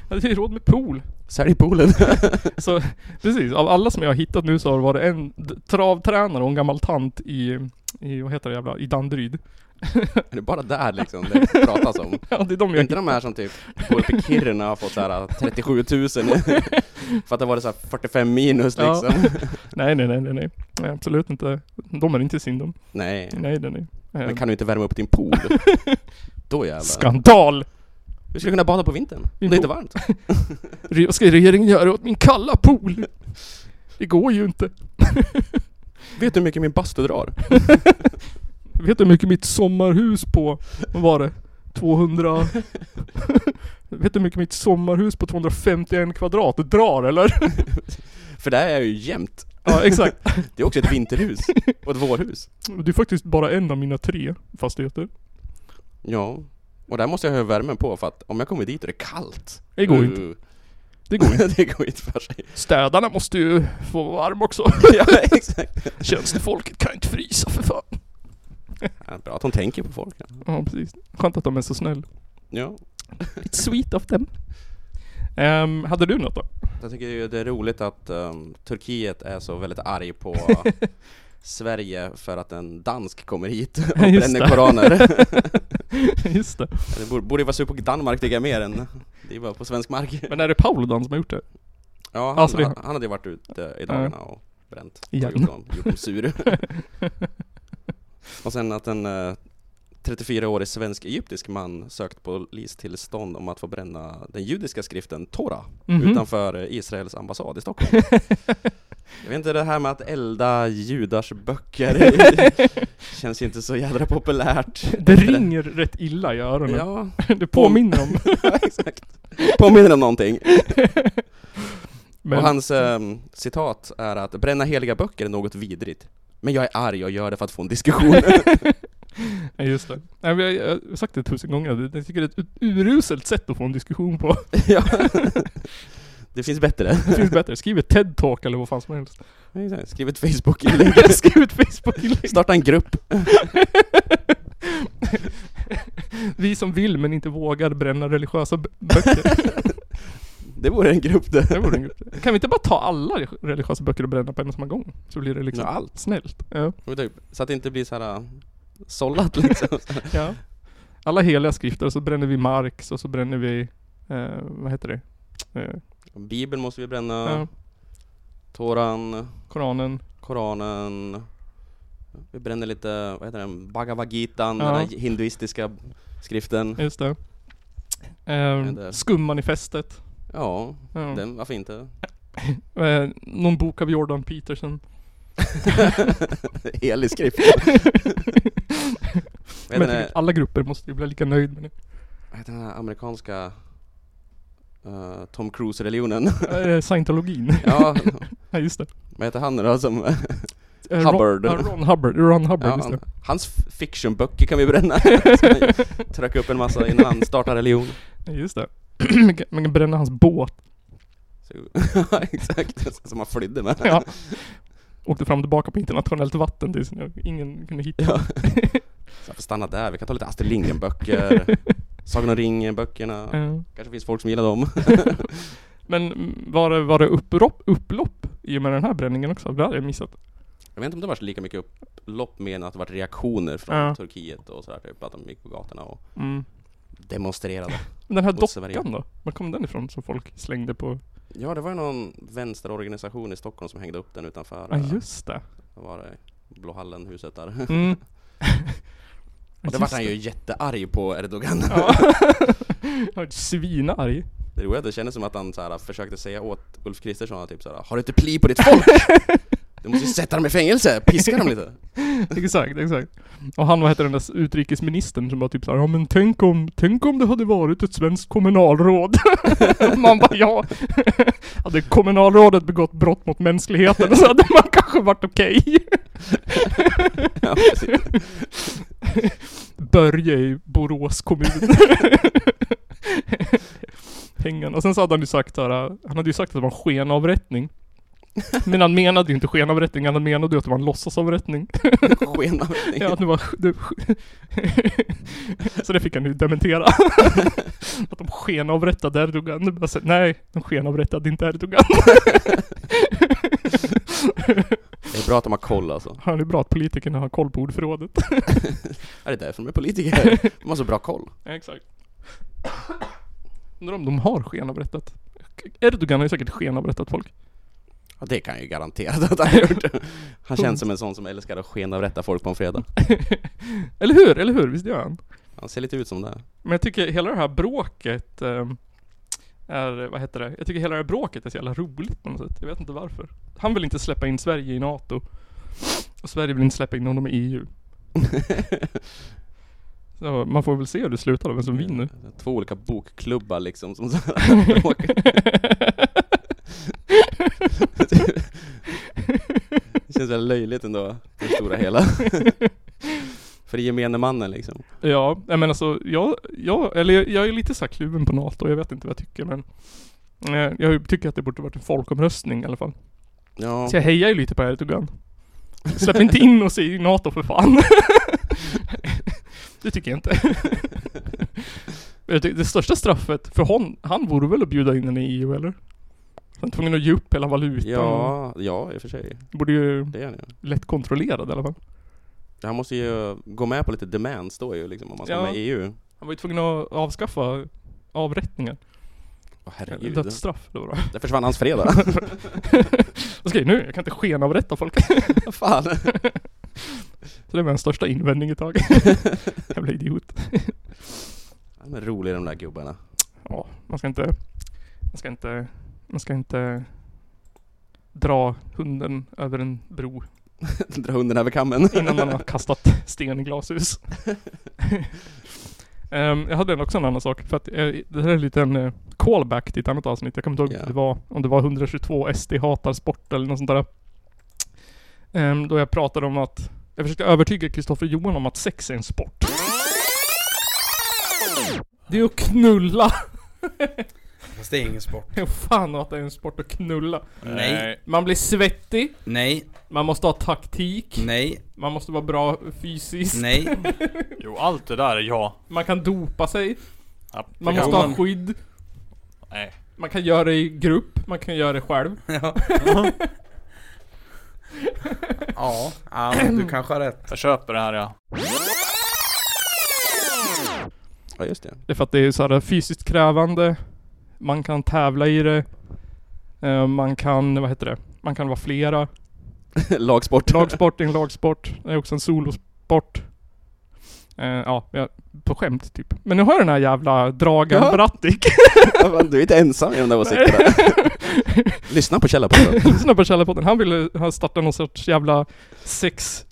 Speaker 1: Han hade ju råd med pool.
Speaker 2: Sälj poolen. (laughs)
Speaker 1: Så precis, av alla som jag har hittat nu så har det varit en d- travtränare och en gammal tant i, i vad heter det jävla, i Danderyd. (laughs)
Speaker 2: Det är bara där liksom det pratas om.
Speaker 1: Ja, det är de jag
Speaker 2: Inte de här som typ bor uppe i Kiruna och har fått så här 37 000 (laughs) för att det var så här 45 minus
Speaker 1: Ja. (laughs)
Speaker 2: liksom.
Speaker 1: Nej, nej, nej, nej, nej. nej. Absolut inte. De är inte synd om.
Speaker 2: Nej,
Speaker 1: Nej, nej, nej. Eh,
Speaker 2: men kan du inte värma upp din
Speaker 1: (laughs)
Speaker 2: pool? Då jävlar.
Speaker 1: Skandal!
Speaker 2: Vi skulle kunna bada på vintern, om
Speaker 1: Min
Speaker 2: det inte är
Speaker 1: pool.
Speaker 2: varmt.
Speaker 1: Re- Vad ska regeringen göra åt min kalla pool? Det går ju inte.
Speaker 2: Vet du hur mycket min bastu drar?
Speaker 1: Vet du hur mycket mitt sommarhus på, vad var det? 200... (laughs) Vet du hur mycket mitt sommarhus på 251 kvadrat drar eller?
Speaker 2: För där är jag ju jämt.
Speaker 1: Ja, exakt.
Speaker 2: Det är också ett vinterhus och ett vårhus.
Speaker 1: (laughs) Det är faktiskt bara en av mina tre fastigheter.
Speaker 2: Ja, och där måste jag ha värmen på för att om jag kommer dit och det är kallt.
Speaker 1: Det går
Speaker 2: Uh,
Speaker 1: inte. Det
Speaker 2: (laughs)
Speaker 1: går inte.
Speaker 2: det går inte för sig.
Speaker 1: Städarna måste ju få vara varm också.
Speaker 2: ja,
Speaker 1: (laughs)
Speaker 2: exakt.
Speaker 1: Tjänstefolket kan inte frysa för fan.
Speaker 2: Ja, bra att de tänker på folk.
Speaker 1: Ja, precis. Skönt att de är så snäll.
Speaker 2: Ja.
Speaker 1: It's sweet of them. Ehm, hade du något då?
Speaker 2: Jag tycker ju det är roligt att ehm, Turkiet är så väldigt
Speaker 1: (laughs)
Speaker 2: arg på Sverige för att en dansk kommer hit och
Speaker 1: Just
Speaker 2: bränner
Speaker 1: det.
Speaker 2: koraner.
Speaker 1: (laughs) (laughs) Just det.
Speaker 2: Det borde- borde ju vara sur på Danmark tycker jag mer än det är bara på svensk mark.
Speaker 1: Men är det Paludan som har gjort det?
Speaker 2: Ja, han,
Speaker 1: Alltså, det-
Speaker 2: han, hade ju varit ute i dagarna och bränt.
Speaker 1: Igen.
Speaker 2: Och gjort dem, gjort dem
Speaker 1: (laughs)
Speaker 2: sur. och sen att en eh, 34-årig svensk-egyptisk man sökt polistillstånd om att få bränna den judiska skriften Torah
Speaker 1: Mhm.
Speaker 2: utanför eh, Israels ambassad
Speaker 1: (laughs)
Speaker 2: i Stockholm. Jag vet inte, det här med att elda judars
Speaker 1: (laughs)
Speaker 2: böcker känns ju inte så jädra populärt.
Speaker 1: Det ringer rätt illa i öronen.
Speaker 2: Ja,
Speaker 1: Det påminner om...
Speaker 2: (laughs) exakt. Påminner om någonting.
Speaker 1: Men,
Speaker 2: Och hans ehm, citat är att bränna heliga böcker är något vidrigt. Men jag är arg och gör det för att få en (laughs) diskussion.
Speaker 1: (laughs) Nej, just det. Nej, men jag, jag har sagt det tusen gånger, jag tycker det är ett uruselt sätt att få en diskussion på. (laughs)
Speaker 2: ja. Det finns bättre.
Speaker 1: Det finns bättre, skriv ett TED-talk eller vad fan som helst.
Speaker 2: Skriv ett (laughs) Facebook-inlägg.
Speaker 1: skriv ett Facebook-inlägg.
Speaker 2: Starta en grupp.
Speaker 1: Vi som vill men inte vågar bränna religiösa bö- böcker.
Speaker 2: Det vore en grupp det.
Speaker 1: Det vore en grupp. Kan vi inte bara ta alla religiösa böcker och bränna på en och samma gång? Så blir det liksom
Speaker 2: Ja, allt.
Speaker 1: snällt. Ja.
Speaker 2: Men Typ, så att det inte blir så här äh, sållat liksom.
Speaker 1: ja. Alla heliga skrifter, och så bränner vi Marx och så bränner vi, eh, vad heter det? Eh,
Speaker 2: Bibeln måste vi bränna.
Speaker 1: ja.
Speaker 2: Toran,
Speaker 1: Koranen.
Speaker 2: Koranen. Vi bränner lite, vad heter den? Bhagavad Gitan,
Speaker 1: Ja.
Speaker 2: den här hinduistiska skriften.
Speaker 1: Just det. Ehm,
Speaker 2: där.
Speaker 1: skummanifestet.
Speaker 2: Ja,
Speaker 1: Ja.
Speaker 2: den, varför inte?
Speaker 1: Eh, någon bok av Jordan Peterson.
Speaker 2: (laughs) Helig skrift.
Speaker 1: (laughs) Men
Speaker 2: Vad
Speaker 1: jag
Speaker 2: heter
Speaker 1: tycker att
Speaker 2: den-
Speaker 1: alla grupper måste ju bli lika nöjd med det.
Speaker 2: vad heter den här amerikanska eh, Tom
Speaker 1: (laughs)
Speaker 2: Cruise-religionen? (laughs)
Speaker 1: Eh, Scientologin.
Speaker 2: ja,
Speaker 1: (laughs) ja, just det.
Speaker 2: vad heter han nu då som...
Speaker 1: Eh,
Speaker 2: Hubbard.
Speaker 1: Ron, ja, Ron Hubbard. Ron Hubbard,
Speaker 2: ja,
Speaker 1: just det.
Speaker 2: han, hans f- fictionböcker kan vi
Speaker 1: (laughs)
Speaker 2: bränna. Som han Trycka upp en massa innan han startar religion.
Speaker 1: Ja, Just det. (clears throat) Man kan bränna hans båt.
Speaker 2: (laughs) Så, (laughs) exakt, som han flydde med.
Speaker 1: Ja. Åkte fram och tillbaka på internationellt vatten tills ingen kunde hitta
Speaker 2: (laughs) Ja. Så jag får stanna där, vi kan ta lite
Speaker 1: (laughs)
Speaker 2: Astrid Lindgren-böcker, Sagan om ringen-böckerna.
Speaker 1: Eh,
Speaker 2: Kanske finns folk som gillar dem.
Speaker 1: Men mm, var det, var det upprop, upplopp i och med den här bränningen också? Det hade jag missat.
Speaker 2: Jag vet inte om det har varit lika mycket upplopp mer än att det har varit reaktioner från
Speaker 1: Ja.
Speaker 2: Turkiet och sådär, typ att de gick på gatorna och
Speaker 1: Mm.
Speaker 2: (laughs) demonstrerade.
Speaker 1: Men Den här
Speaker 2: Måste vara
Speaker 1: dockan då? Var kom den ifrån som folk slängde på?
Speaker 2: Ja, det var ju någon vänsterorganisation i Stockholm som hängde upp den utanför
Speaker 1: Ja,
Speaker 2: eh,
Speaker 1: just det.
Speaker 2: vad var det, Blåhallen-huset (laughs) där.
Speaker 1: Mm. (laughs)
Speaker 2: Och det vart han ju jättearg på Erdogan.
Speaker 1: (laughs) Ja. Jag var svinarg.
Speaker 2: (laughs) Det roliga är att det kändes som att han så här, försökte säga åt Ulf Kristersson att typ så här, Har du inte pli på ditt
Speaker 1: (laughs)
Speaker 2: folk? Du måste ju sätta dem i fängelse, piska dem lite.
Speaker 1: Exakt, exakt. Och han, vad heter den där utrikesministern som var typ såhär, ja men tänk om, tänk om det hade varit ett svenskt kommunalråd. (laughs) man bara, ja. (laughs) hade kommunalrådet begått brott mot mänskligheten så hade man kanske varit okej.
Speaker 2: (laughs) Ja, precis.
Speaker 1: Börje i Borås kommun. (laughs) Hängan. Och sen så hade han ju sagt såhär, han hade ju sagt att det var en skenavrättning. Men han menade ju inte skenavrättning, han menade ju att det var en låtsasavrättning. (laughs)
Speaker 2: Skenavrättning.
Speaker 1: Ja, att det var... Det, (laughs) så det fick han ju dementera. att de skenavrättade Erdogan. Det bara så, nej, de skenavrättade inte Erdogan. (laughs)
Speaker 2: Det är bra att de har koll alltså.
Speaker 1: Han är bra att politikerna har koll på ordförrådet.
Speaker 2: Är det därför de är
Speaker 1: (laughs)
Speaker 2: politiker? De har så bra koll.
Speaker 1: Exakt. Undrar om de har skenavrättat. Erdogan har ju säkert skenavrättat folk. (laughs)
Speaker 2: Ja, det kan jag ju garanterat att han har gjort. Han känns som en sån som älskar att skenavrätta folk på en fredag.
Speaker 1: Eller hur? Eller hur? Visst gör han?
Speaker 2: Han ser lite ut som det.
Speaker 1: Men jag tycker hela det här bråket ehm, är, vad heter det? Jag tycker hela det här bråket är så jävla roligt på något sätt. Jag vet inte varför. Han vill inte släppa in Sverige i NATO. Och Sverige vill inte släppa in honom i EU. Så man får väl se hur det slutar då, vem som vinner. (laughs)
Speaker 2: Två olika bokklubbar liksom som så här (laughs) bråkar. Det känns väl löjligt ändå, på det stora
Speaker 1: (laughs)
Speaker 2: hela. För gemene mannen liksom.
Speaker 1: ja, nej, men alltså jag, jag, eller jag, jag är lite så här kluven på NATO. Jag vet inte vad jag tycker men eh, jag tycker att det borde varit en folkomröstning i alla fall.
Speaker 2: Ja,
Speaker 1: Så jag hejar ju lite på Erdogan. Släpp inte in oss i NATO för fan. Det tycker jag inte. Jag tycker Det största straffet för hon, han vore väl att bjuda in henne i EU eller? Han är tvungen att ge upp hela valutan.
Speaker 2: ja, ja i och för sig.
Speaker 1: Borde ju
Speaker 2: Det är han ju.
Speaker 1: lätt kontrollerad i alla fall.
Speaker 2: Han måste ju gå med på lite demands då ju liksom om man ska
Speaker 1: Ja.
Speaker 2: med i EU.
Speaker 1: Han var ju tvungen att avskaffa avrättningar.
Speaker 2: Åh
Speaker 1: Eller
Speaker 2: herregud.
Speaker 1: dödsstraff. Det var bra.
Speaker 2: Där försvann
Speaker 1: (laughs)
Speaker 2: hans fredag.
Speaker 1: Okej nu, jag kan inte skenavrätta folk.
Speaker 2: Fan.
Speaker 1: Så det var min största invändning ett
Speaker 2: (laughs)
Speaker 1: tag. Jävla idiot.
Speaker 2: De är roliga de där gubbarna.
Speaker 1: ja, man ska inte, man ska inte, man ska inte dra hunden över en bro
Speaker 2: Dra hunden över kammen.
Speaker 1: (laughs) innan man har kastat sten i glashus. Ehm, jag hade också en annan sak, för att eh, det här är en liten eh, callback till ett annat avsnitt. Jag kommer inte ihåg
Speaker 2: Ja.
Speaker 1: om det var, om det var 122 SD hatar sport eller något sånt där. Ehm, då jag pratade om att, jag försökte övertyga Kristoffer Johan om att sex är en sport. Det är att knulla! (laughs)
Speaker 9: Fast det är ingen sport.
Speaker 1: Jo, Fan att det är en sport att knulla.
Speaker 9: Nej.
Speaker 1: Man blir svettig,
Speaker 9: Nej,
Speaker 1: man måste ha taktik,
Speaker 9: nej,
Speaker 1: man måste vara bra fysiskt,
Speaker 9: nej.
Speaker 10: (laughs) Jo, allt det där är ja.
Speaker 1: man kan dopa sig,
Speaker 10: ja
Speaker 1: man
Speaker 10: det
Speaker 1: måste
Speaker 10: kan-
Speaker 1: ha skydd,
Speaker 10: Nej.
Speaker 1: man kan göra det i grupp, man kan göra det själv.
Speaker 9: Ja. ja, ja, du kanske har rätt.
Speaker 10: (laughs) Jag köper det här ja.
Speaker 2: Ja just det.
Speaker 1: Det är för att det är så här fysiskt krävande, man kan tävla i det, eh, man kan, vad heter det, man kan vara flera.
Speaker 2: Lagsport.
Speaker 1: Lagsport är en lagsport, det är också en solosport. Eh, ja, jag- på skämt typ. Men nu har jag den här jävla Dragan
Speaker 2: Ja.
Speaker 1: Bratic.
Speaker 2: Ja, men du är inte ensam i de där åsikterna.
Speaker 1: (laughs)
Speaker 2: Lyssna på Källarpodden.
Speaker 1: Lyssna på Källarpodden, han ville han starta någon sorts jävla sex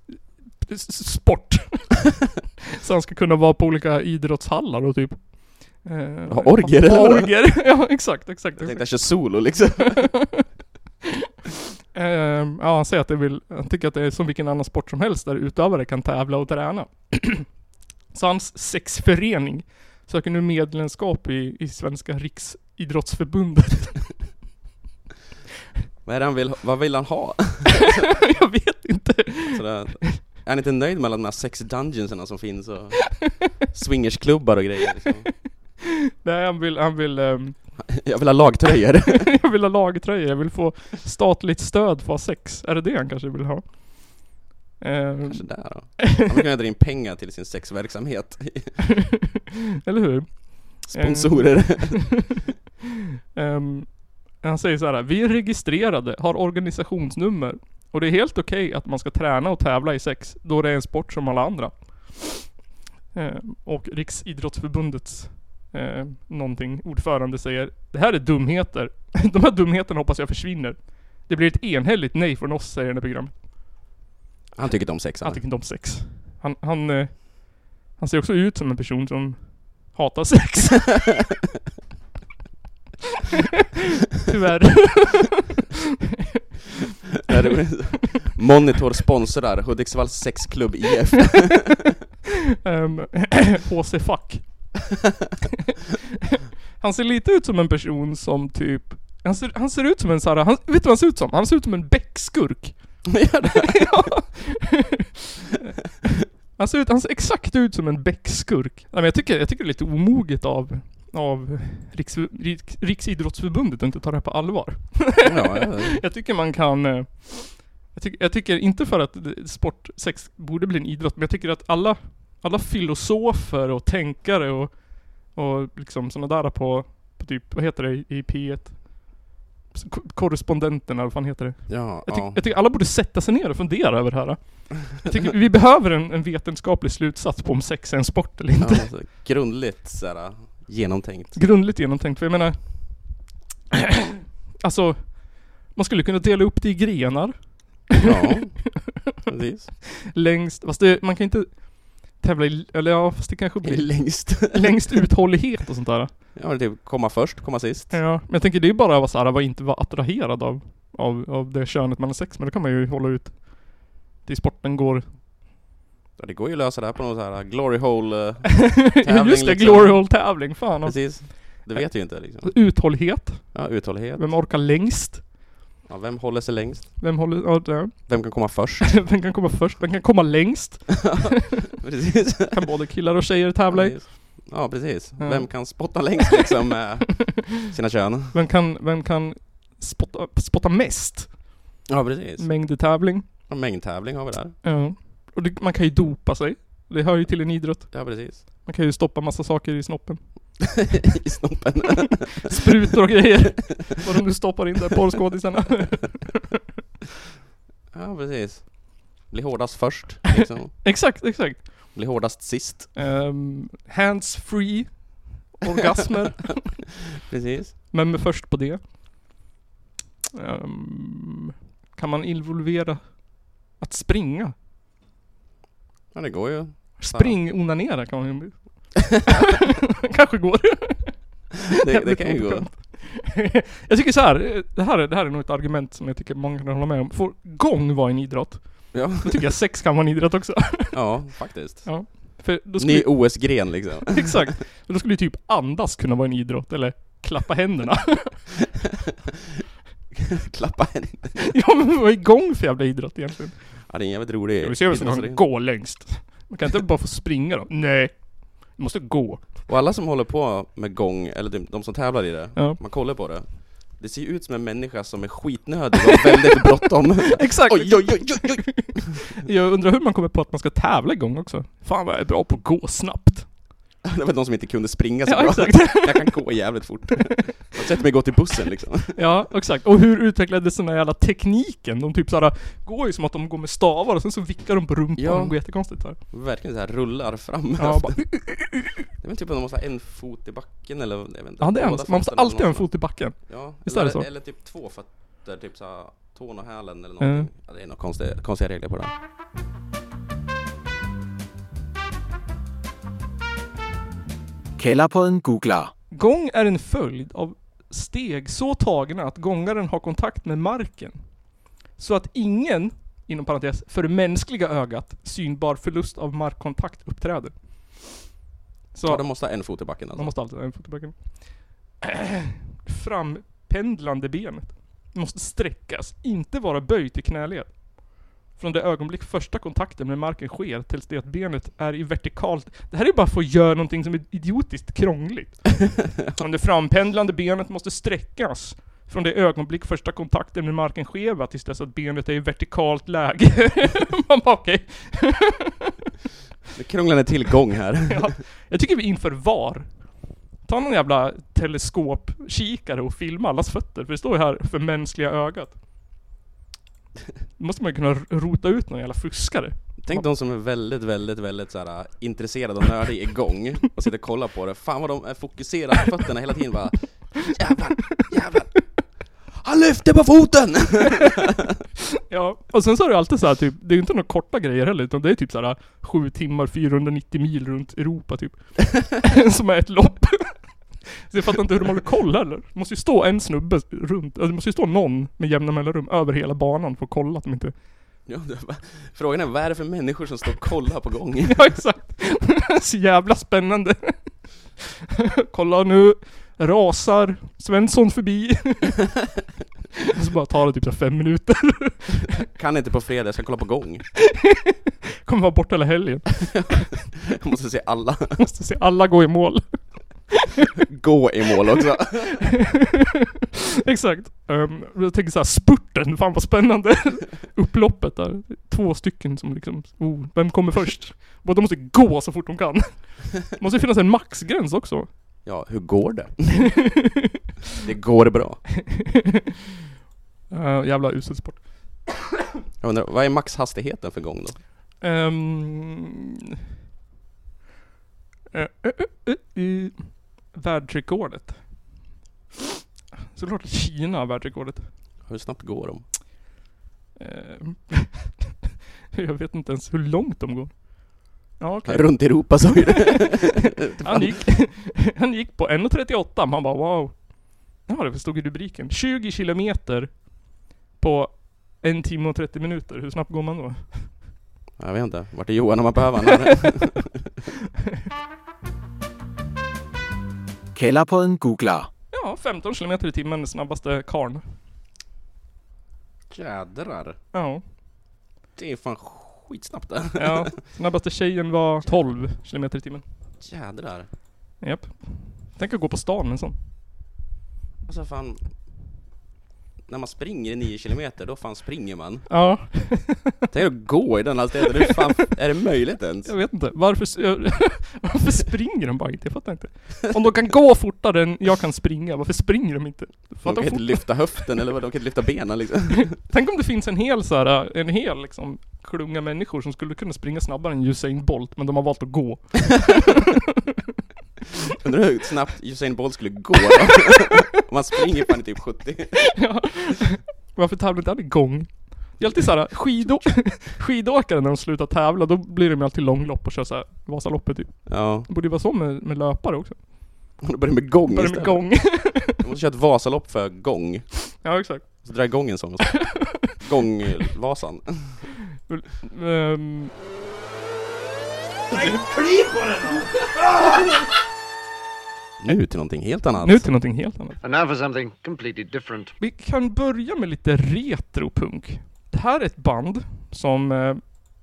Speaker 1: s- sport. (laughs) så han ska kunna vara på olika idrottshallar och typ. Eh,
Speaker 2: Ha orgier
Speaker 1: ha
Speaker 2: eller vad?
Speaker 1: orgier. (laughs) ja, exakt, exakt.
Speaker 2: Jag
Speaker 1: exakt.
Speaker 2: tänkte jag kör solo liksom.
Speaker 1: Ehm, ja, han säger att det vill, han tycker att det är som vilken annan sport som helst där utövare kan tävla och träna. (clears throat) så hans sexförening söker nu medlemskap i, i Svenska Riksidrottsförbundet. (laughs)
Speaker 2: Vad är det han vill, vad vill han ha?
Speaker 1: jag vet inte.
Speaker 2: Sådär. Är han inte nöjd med alla de här sex dungeonserna som finns och swingersklubbar och grejer liksom.
Speaker 1: Nej, han vill, han vill ehm,
Speaker 2: Jag vill ha lagtröjor. (laughs)
Speaker 1: (laughs) Jag vill ha lagtröjor, jag vill få statligt stöd för att ha sex. Är det det han kanske vill ha? Eh,
Speaker 2: Kanske där då. Han kan kunna dra in pengar till sin sexverksamhet.
Speaker 1: (laughs) Eh. eller hur?
Speaker 2: Sponsorer.
Speaker 1: (laughs) Ehm, han säger så här, vi är registrerade, har organisationsnummer och det är helt okej att man ska träna och tävla i sex då det är en sport som alla andra. Ehm, och Riksidrottsförbundets eh, någonting ordförande säger, det här är dumheter. (laughs) De här dumheterna hoppas jag försvinner. Det blir ett enhälligt nej från oss, säger den här programmet.
Speaker 2: Han tycker inte om sex.
Speaker 1: Han
Speaker 2: Han.
Speaker 1: tycker inte om sex. Han, han, eh, han ser också ut som en person som hatar sex. Tyvärr.
Speaker 2: Det här är- Monitor sponsrar Hudiksvalls
Speaker 1: (laughs)
Speaker 2: sexklubb IF.
Speaker 1: Ehm, (clears throat) HC Fuck. han ser lite ut som en person som typ... Han ser, han ser ut som en såhär, han, vet du vad han ser ut som? Han ser ut som en bäckskurk. ja. han, ser ut, han ser exakt ut som en bäckskurk. Nej, men jag, tycker, jag tycker det är lite omoget av, av Riks, Riks, Riksidrottsförbundet att inte ta det här på allvar.
Speaker 2: Ja, ja.
Speaker 1: Jag tycker man kan... eh, Jag, tyck, jag tycker inte för att det- sport, sex borde bli en idrott, men jag tycker att alla, alla filosofer och tänkare och, och liksom sådana där på, på typ, vad heter det i- i P1? S- ko- Korrespondenterna, vad fan heter det?
Speaker 2: ja,
Speaker 1: Jag, tyck,
Speaker 2: ja.
Speaker 1: jag tycker alla borde sätta sig ner och fundera över det här. Jag tycker vi behöver en, en vetenskaplig slutsats på om sex är en sport eller
Speaker 2: ja
Speaker 1: inte.
Speaker 2: alltså, grundligt såhär,
Speaker 1: (laughs)
Speaker 2: genomtänkt.
Speaker 1: grundligt genomtänkt. För jag menar, (clears throat) alltså, man skulle kunna dela upp det i grenar
Speaker 2: Ja, precis.
Speaker 1: längst, fast det, man kan inte tävla i, eller ja, fast det kanske
Speaker 2: (laughs)
Speaker 1: blir
Speaker 2: Längst.
Speaker 1: (laughs) längst uthållighet och sånt där.
Speaker 2: Ja, men typ komma först, komma sist.
Speaker 1: Ja, men jag tänker det är bara vad såhär, vad inte vara attraherad av, av, av det könet man har sex med, det kan man ju hålla ut till sporten går. (laughs)
Speaker 2: Ja, det går ju att lösa det här på någon så här glory hole, eh,
Speaker 1: Just det,
Speaker 2: Tävling liksom.
Speaker 1: glory hole tävling, fan. alltså.
Speaker 2: precis. Det vet ju inte liksom.
Speaker 1: Uthållighet,
Speaker 2: Ja, uthållighet.
Speaker 1: vem orkar längst?
Speaker 2: Ja, vem håller sig längst?
Speaker 1: Vem håller, ja, det- (laughs)
Speaker 2: Vem kan komma först? (laughs)
Speaker 1: vem kan komma först? Vem kan komma längst?
Speaker 2: precis.
Speaker 1: Kan både killar och tjejer tävla i?
Speaker 2: Ja, precis.
Speaker 1: Ja.
Speaker 2: Vem kan spotta längst liksom med sina kön?
Speaker 1: (laughs) Vem kan, vem kan spotta, spotta mest?
Speaker 2: Ja, precis.
Speaker 1: Mängd i tävling.
Speaker 2: Och mängdtävling har vi där.
Speaker 1: Ja. Och det, man kan ju dopa sig. Det hör ju till en idrott. (laughs)
Speaker 2: Ja, precis.
Speaker 1: Man kan ju stoppa massa saker i snoppen.
Speaker 2: I snoppen.
Speaker 1: Sprutor och grejer. Vad de nu stoppar in där, porrskådisarna.
Speaker 2: Ja, precis. Bli hårdast först, liksom.
Speaker 1: exakt, exakt.
Speaker 2: Bli hårdast sist.
Speaker 1: Ehm, hands free. Orgasmer.
Speaker 2: Precis.
Speaker 1: Vem är först på det? Ehm, kan man involvera att springa?
Speaker 2: Ja, det går ju. (laughs)
Speaker 1: Spring-onanera kan man ju. Kanske går.
Speaker 2: det, det kan ju gå.
Speaker 1: (laughs) Jävligt obekvämt. jag tycker så här, eh, det här, är- det här är nog ett argument som jag tycker många kan hålla med om. Får gång vara en idrott,
Speaker 2: Ja,
Speaker 1: då tycker jag sex kan vara en idrott också. (laughs)
Speaker 2: ja faktiskt.
Speaker 1: ja. För då skulle,
Speaker 2: Ny OS-gren liksom.
Speaker 1: (laughs) Exakt. Men då skulle ju typ andas kunna vara en idrott, eller klappa
Speaker 2: (laughs)
Speaker 1: händerna. (laughs)
Speaker 2: Klappa händerna.
Speaker 1: ja men vad är igång för jävla idrott egentligen?
Speaker 2: Ja, det är en jävligt rolig
Speaker 1: Ja, vi ser vem som
Speaker 2: idrottsgren.
Speaker 1: kan gå längst. Man kan inte bara få springa då. Nej. Du måste gå.
Speaker 2: Och alla som håller på med gång, eller de, de som tävlar i det,
Speaker 1: Ja.
Speaker 2: man kollar på det Det ser ju ut som en människa som är skitnödig och väldigt (laughs) bråttom
Speaker 1: (laughs) Exakt.
Speaker 2: Oj, oj, oj, oj, oj. (laughs)
Speaker 1: Jag undrar hur man kommer på att man ska tävla igång också. Fan vad jag är bra på att gå snabbt.
Speaker 2: Det var de som inte kunde springa så
Speaker 1: Ja,
Speaker 2: bra
Speaker 1: exakt.
Speaker 2: (laughs) Jag kan gå
Speaker 1: (laughs)
Speaker 2: jävligt fort Man sätter mig gå till bussen liksom (laughs)
Speaker 1: Ja, exakt. Och hur utvecklades den här jävla tekniken? De typ såhär, går ju som att de går med stavar och sen så vickar de på rumpan
Speaker 2: Ja.
Speaker 1: och de går jättekonstigt såhär.
Speaker 2: Verkligen så här rullar fram
Speaker 1: Ja, bara,
Speaker 2: (laughs) Det är väl typ att de måste ha en fot i backen eller jag vet inte,
Speaker 1: ja, det är en,
Speaker 2: båda
Speaker 1: man måste
Speaker 2: fötterna
Speaker 1: alltid ha en
Speaker 2: någonstans.
Speaker 1: fot i backen.
Speaker 2: Ja,
Speaker 1: Visst är
Speaker 2: eller,
Speaker 1: det så?
Speaker 2: eller typ två fötter, typ så här, tån och hälen eller
Speaker 1: Mm.
Speaker 2: någonting ja, Det är några konstiga, konstiga regler på det här.
Speaker 8: Källarpodden googlar.
Speaker 1: Gång är en följd av steg så tagna att gångaren har kontakt med marken. Så att ingen, inom parentes, för det mänskliga ögat synbar förlust av markkontakt uppträder. Så
Speaker 2: Ja, de måste ha en fot i backen alltså
Speaker 1: man måste alltid ha en fot i backen. Frampendlande benet måste sträckas, inte vara böjt i knäled. Från det ögonblick första kontakten med marken sker tills det att benet är i vertikalt... Det här är ju bara för att göra någonting som är idiotiskt krångligt. Från det frampendlande benet måste sträckas. Från det ögonblick första kontakten med marken sker va, tills dess att benet är i vertikalt läge. (laughs) Man bara okej.
Speaker 2: Nu krånglar ni till gång här
Speaker 1: (laughs)
Speaker 2: (laughs)
Speaker 1: Ja, jag tycker vi inför VAR. Ta någon jävla teleskopkikare och filma allas fötter, för det står ju här för mänskliga ögat. Då måste man ju kunna r- rota ut någon jävla fuskare.
Speaker 2: Tänk de som är väldigt, väldigt, väldigt så här, äh, intresserade och nördiga igång och sitter och kollar på det. Fan vad de är fokuserade på fötterna hela tiden bara Jävlar, jävlar! Han lyfter på foten! (laughs)
Speaker 1: Ja, och sen så är det alltid så här typ, det är ju inte några korta grejer heller, utan det är typ så här 7 timmar 490 mil runt Europa typ. (laughs) Som är ett lopp. Så jag fattar inte hur de håller koll heller. Det måste ju stå en snubbe runt, alltså det måste ju stå någon med jämna mellanrum över hela banan för att kolla att de inte...
Speaker 2: Ja, det var- Frågan är vad är det för människor som står och kollar på gång?
Speaker 1: (laughs) Ja exakt. Så jävla spännande. (laughs) Kolla nu. Rasar Svensson förbi. (laughs) Och så bara tar det typ så här fem minuter. (laughs)
Speaker 2: Kan inte på fredag, jag ska kolla på gång.
Speaker 1: Kommer vara borta hela helgen. (laughs)
Speaker 2: Jag måste se alla (laughs)
Speaker 1: Måste se alla gå i mål. (laughs)
Speaker 2: gå i mål också.
Speaker 1: Exakt. Um, jag tänker såhär, spurten, fan vad spännande. (laughs) Upploppet där. Två stycken som liksom, oh, vem kommer först? Båda måste gå så fort de kan. (laughs) Måste ju finnas en maxgräns också. (laughs)
Speaker 2: Ja, hur går det? Det går bra.
Speaker 1: (laughs) Eh, jävla usel sport.
Speaker 2: Jag undrar, vad är maxhastigheten för gång då?
Speaker 1: Um, uh, världsrekordet. Såklart Kina har världsrekordet.
Speaker 2: Hur snabbt går de?
Speaker 1: Ehm, (laughs) jag vet inte ens hur långt de går. Ja, okej.
Speaker 2: Runt Europa (laughs) sa vi det.
Speaker 1: Han, gick, (laughs) han gick på 1.38, man bara wow. Ja, det stod i rubriken. 20 kilometer på en timme och 30 minuter. Hur snabbt går man då?
Speaker 2: Jag vet inte, vart är Johan om man behöver honom?
Speaker 8: Källarpodden googlar.
Speaker 1: Ja, 15 kilometer i timmen, snabbaste karn.
Speaker 2: Jädrar.
Speaker 1: Ja.
Speaker 2: Det är fan skitsnabbt det.
Speaker 1: Ja, snabbaste tjejen var 12 km i timmen.
Speaker 2: Jädrar.
Speaker 1: Japp. Tänk att gå på stan med en sån.
Speaker 2: Alltså fan. När man springer i 9 kilometer, då fan springer man.
Speaker 1: Ja,
Speaker 2: Tänk att gå i den hastigheten, hur fan är det möjligt ens?
Speaker 1: jag (laughs) vet inte. Varför, s- varför springer de bara inte? Jag fattar inte. Om de kan gå fortare än jag kan springa, varför springer de inte?
Speaker 2: De
Speaker 1: Fattar
Speaker 2: kan inte
Speaker 1: fort.
Speaker 2: lyfta höften eller vad, de kan inte lyfta benen (laughs) liksom.
Speaker 1: Tänk om det finns en hel så här, en hel liksom klunga människor som skulle kunna springa snabbare än Usain Bolt, men de har valt att gå. (laughs)
Speaker 2: Undrar hur snabbt Usain Bolt skulle (laughs) gå då? Om man springer fan i typ 70.
Speaker 1: Ja. Varför tävlar inte han igång? Det är alltid såhär, skidå skidåkare när de slutar tävla, då blir de ju alltid långlopp och kör såhär Vasaloppet typ.
Speaker 2: Ja,
Speaker 1: Det borde ju vara så med, med löpare också.
Speaker 2: Hon börjar med gång
Speaker 1: Börjar med
Speaker 2: istället.
Speaker 1: gång. (laughs)
Speaker 2: Hon måste köra ett Vasalopp för gång.
Speaker 1: Ja, exakt.
Speaker 2: Så drar jag igång en sång. (laughs) Gångvasan.
Speaker 1: Ehm,
Speaker 11: Klipp på den
Speaker 2: Nu till någonting helt annat.
Speaker 1: Nu till någonting helt annat.
Speaker 12: And now for something completely different.
Speaker 1: Vi kan börja med lite retropunk. Det här är ett band som eh,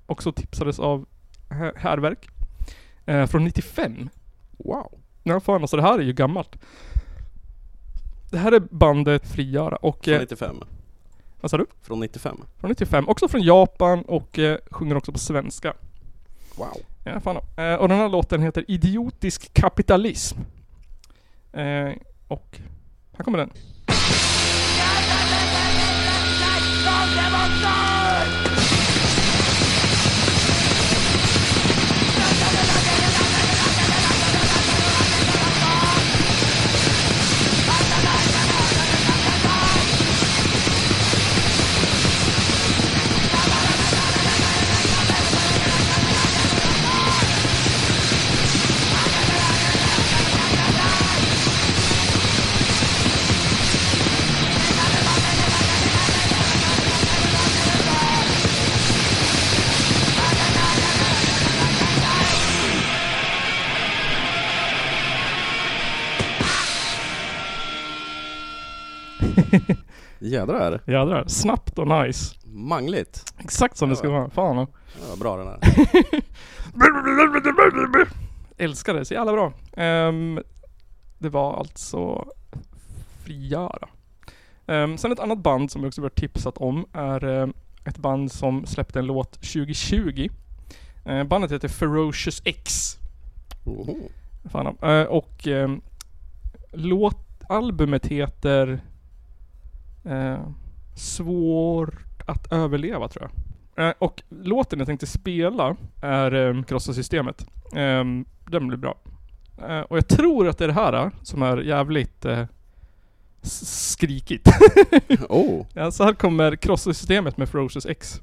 Speaker 1: också tipsades av Hä- Härverk. Eh, från 95.
Speaker 2: Wow.
Speaker 1: Ja fan alltså det här är ju gammalt. Det här är bandet Frigöra och...
Speaker 2: Från
Speaker 1: eh,
Speaker 2: 95.
Speaker 1: Vad sa du?
Speaker 2: Från 95.
Speaker 1: Från 95. Också från Japan och eh, sjunger också på svenska.
Speaker 2: Wow.
Speaker 1: Ja, fan. Eh, och den här låten heter Idiotisk kapitalism. Eh, och här kommer den.
Speaker 2: Jädrar.
Speaker 1: Jädrar. Snabbt och nice.
Speaker 2: Mangligt.
Speaker 1: Exakt som det ska vara. Fan. ja.
Speaker 2: Ja, bra den här.
Speaker 1: (laughs) Älskar det. Så jävla bra. Ehm, det var alltså Frigöra. Ehm, sen ett annat band som jag också varit tipsat om är eh, ett band som släppte en låt 2020. Eh, bandet heter Ferocious X.
Speaker 2: Oho.
Speaker 1: Fan, eh, och ehm, låt, albumet heter eh, Svårt att överleva tror jag. Eh, och låten jag tänkte spela är eh, Krossa Systemet. Ehm, den blir bra. Eh, och jag tror att det är det här eh, som är jävligt eh, s- skrikigt.
Speaker 2: oh.
Speaker 1: ja, så här kommer Krossa Systemet med Ferocious X.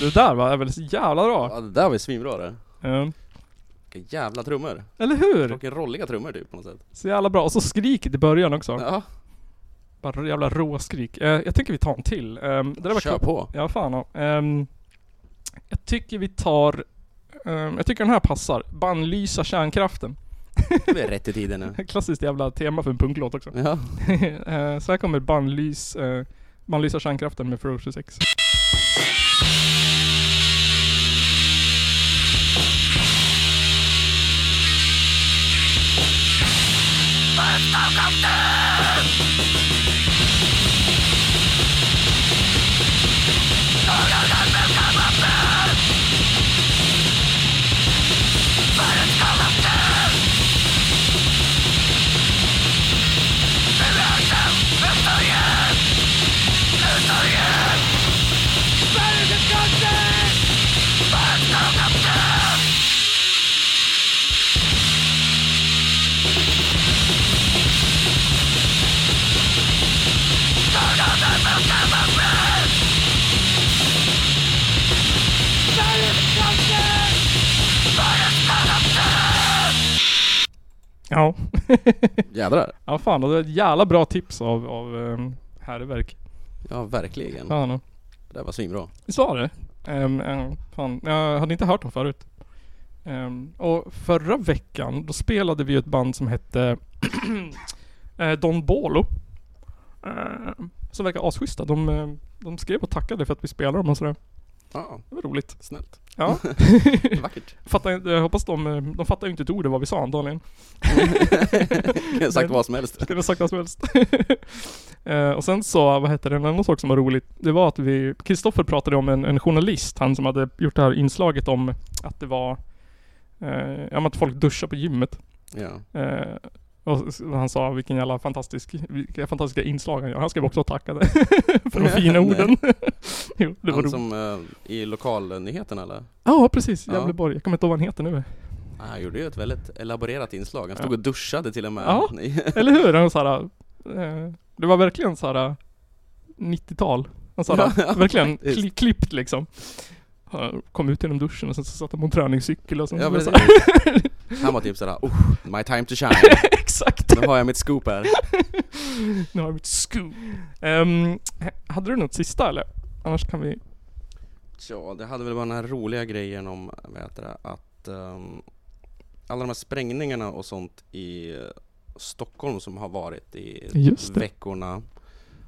Speaker 1: Det där var väl så jävla bra?
Speaker 2: Ja, det där var ju svinbra det.
Speaker 1: Ehm,
Speaker 2: Vilka jävla trummor.
Speaker 1: eller hur?
Speaker 2: Vilka rolliga trummor typ på något sätt.
Speaker 1: Så jävla bra. Och så skriket i början också.
Speaker 2: Ja.
Speaker 1: Bara jävla råskrik. Eh, jag tänker vi tar en till. Ehm, det där var
Speaker 2: Kör
Speaker 1: kul.
Speaker 2: på.
Speaker 1: Ja, fan ja. Ehm, Jag tycker vi tar... ehm, jag tycker den här passar. Bannlysa kärnkraften. (laughs)
Speaker 2: Det är rätt i tiden nu.
Speaker 1: Klassiskt jävla tema för en punklåt
Speaker 2: (laughs)
Speaker 1: också.
Speaker 2: Ja.
Speaker 1: Eh, så här kommer bannlys... eh, bannlysa kärnkraften med Ferocious X.
Speaker 11: nu!
Speaker 1: Ja.
Speaker 2: Jädrar.
Speaker 1: Ja fan, och det är ett jävla bra tips av, av um, herreverk.
Speaker 2: Ja, verkligen.
Speaker 1: Ja, no.
Speaker 2: Det där var svinbra.
Speaker 1: Visst var det? Ehm, ehm, fan, jag hade inte hört dem förut. Ehm, och förra veckan, då spelade vi ju ett band som hette (clears throat) eh, Don Bolo. Ehm, som verkar asschyssta. De, eh, de skrev och tackade för att vi spelade dem och sådär.
Speaker 2: Ja.
Speaker 1: Det var roligt.
Speaker 2: Snällt.
Speaker 1: Ja.
Speaker 2: (laughs) Vackert.
Speaker 1: Fattar, inte- jag hoppas de, eh, de fattar ju inte ett ord av vad vi sa antagligen.
Speaker 2: Kunde sagt vad som helst.
Speaker 1: Kunde sagt vad som helst. (laughs) Eh, och sen så, vad hette det, en annan sak som var roligt. Det var att vi, Kristoffer pratade om en, en journalist, han som hade gjort det här inslaget om att det var, eh, ja men att folk duschar på gymmet.
Speaker 2: Ja.
Speaker 1: Eh, och s- han sa vilken jävla fantastisk, vilka fantastiska inslag han gör. Han skrev också och tackade (laughs) för de fina
Speaker 2: Nej.
Speaker 1: orden. (laughs) jo, det var
Speaker 2: Han
Speaker 1: roligt.
Speaker 2: som eh, i lokalnyheten eller?
Speaker 1: Ja, precis.
Speaker 2: Ja.
Speaker 1: Gävleborg. Jag kommer inte ihåg vad han heter nu.
Speaker 2: Ah, Han gjorde ju ett väldigt elaborerat inslag, han stod och duschade till och med. (laughs)
Speaker 1: Ja,
Speaker 2: Nej.
Speaker 1: eller hur? Han så här, eh, det var verkligen så här eh, 90-tal. Han så här,
Speaker 2: Ja, ja, (laughs)
Speaker 1: verkligen
Speaker 2: faktiskt.
Speaker 1: kli, klippt liksom. Han Kom ut genom duschen och sen så satt han på en träningscykel och sen
Speaker 2: Ja,
Speaker 1: så var det så
Speaker 2: precis.
Speaker 1: här.
Speaker 2: Han var typ sådär oh, my time to shine.
Speaker 1: (laughs) Exakt.
Speaker 2: Nu har jag mitt scoop här.
Speaker 1: Nu har jag mitt scoop. Ehm, hade du något sista eller? Annars kan vi...
Speaker 2: Ja, det hade väl bara den här roliga grejen om, vad heter det, att ehm, alla de här sprängningarna och sånt i eh, Stockholm som har varit i
Speaker 1: Just det.
Speaker 2: veckorna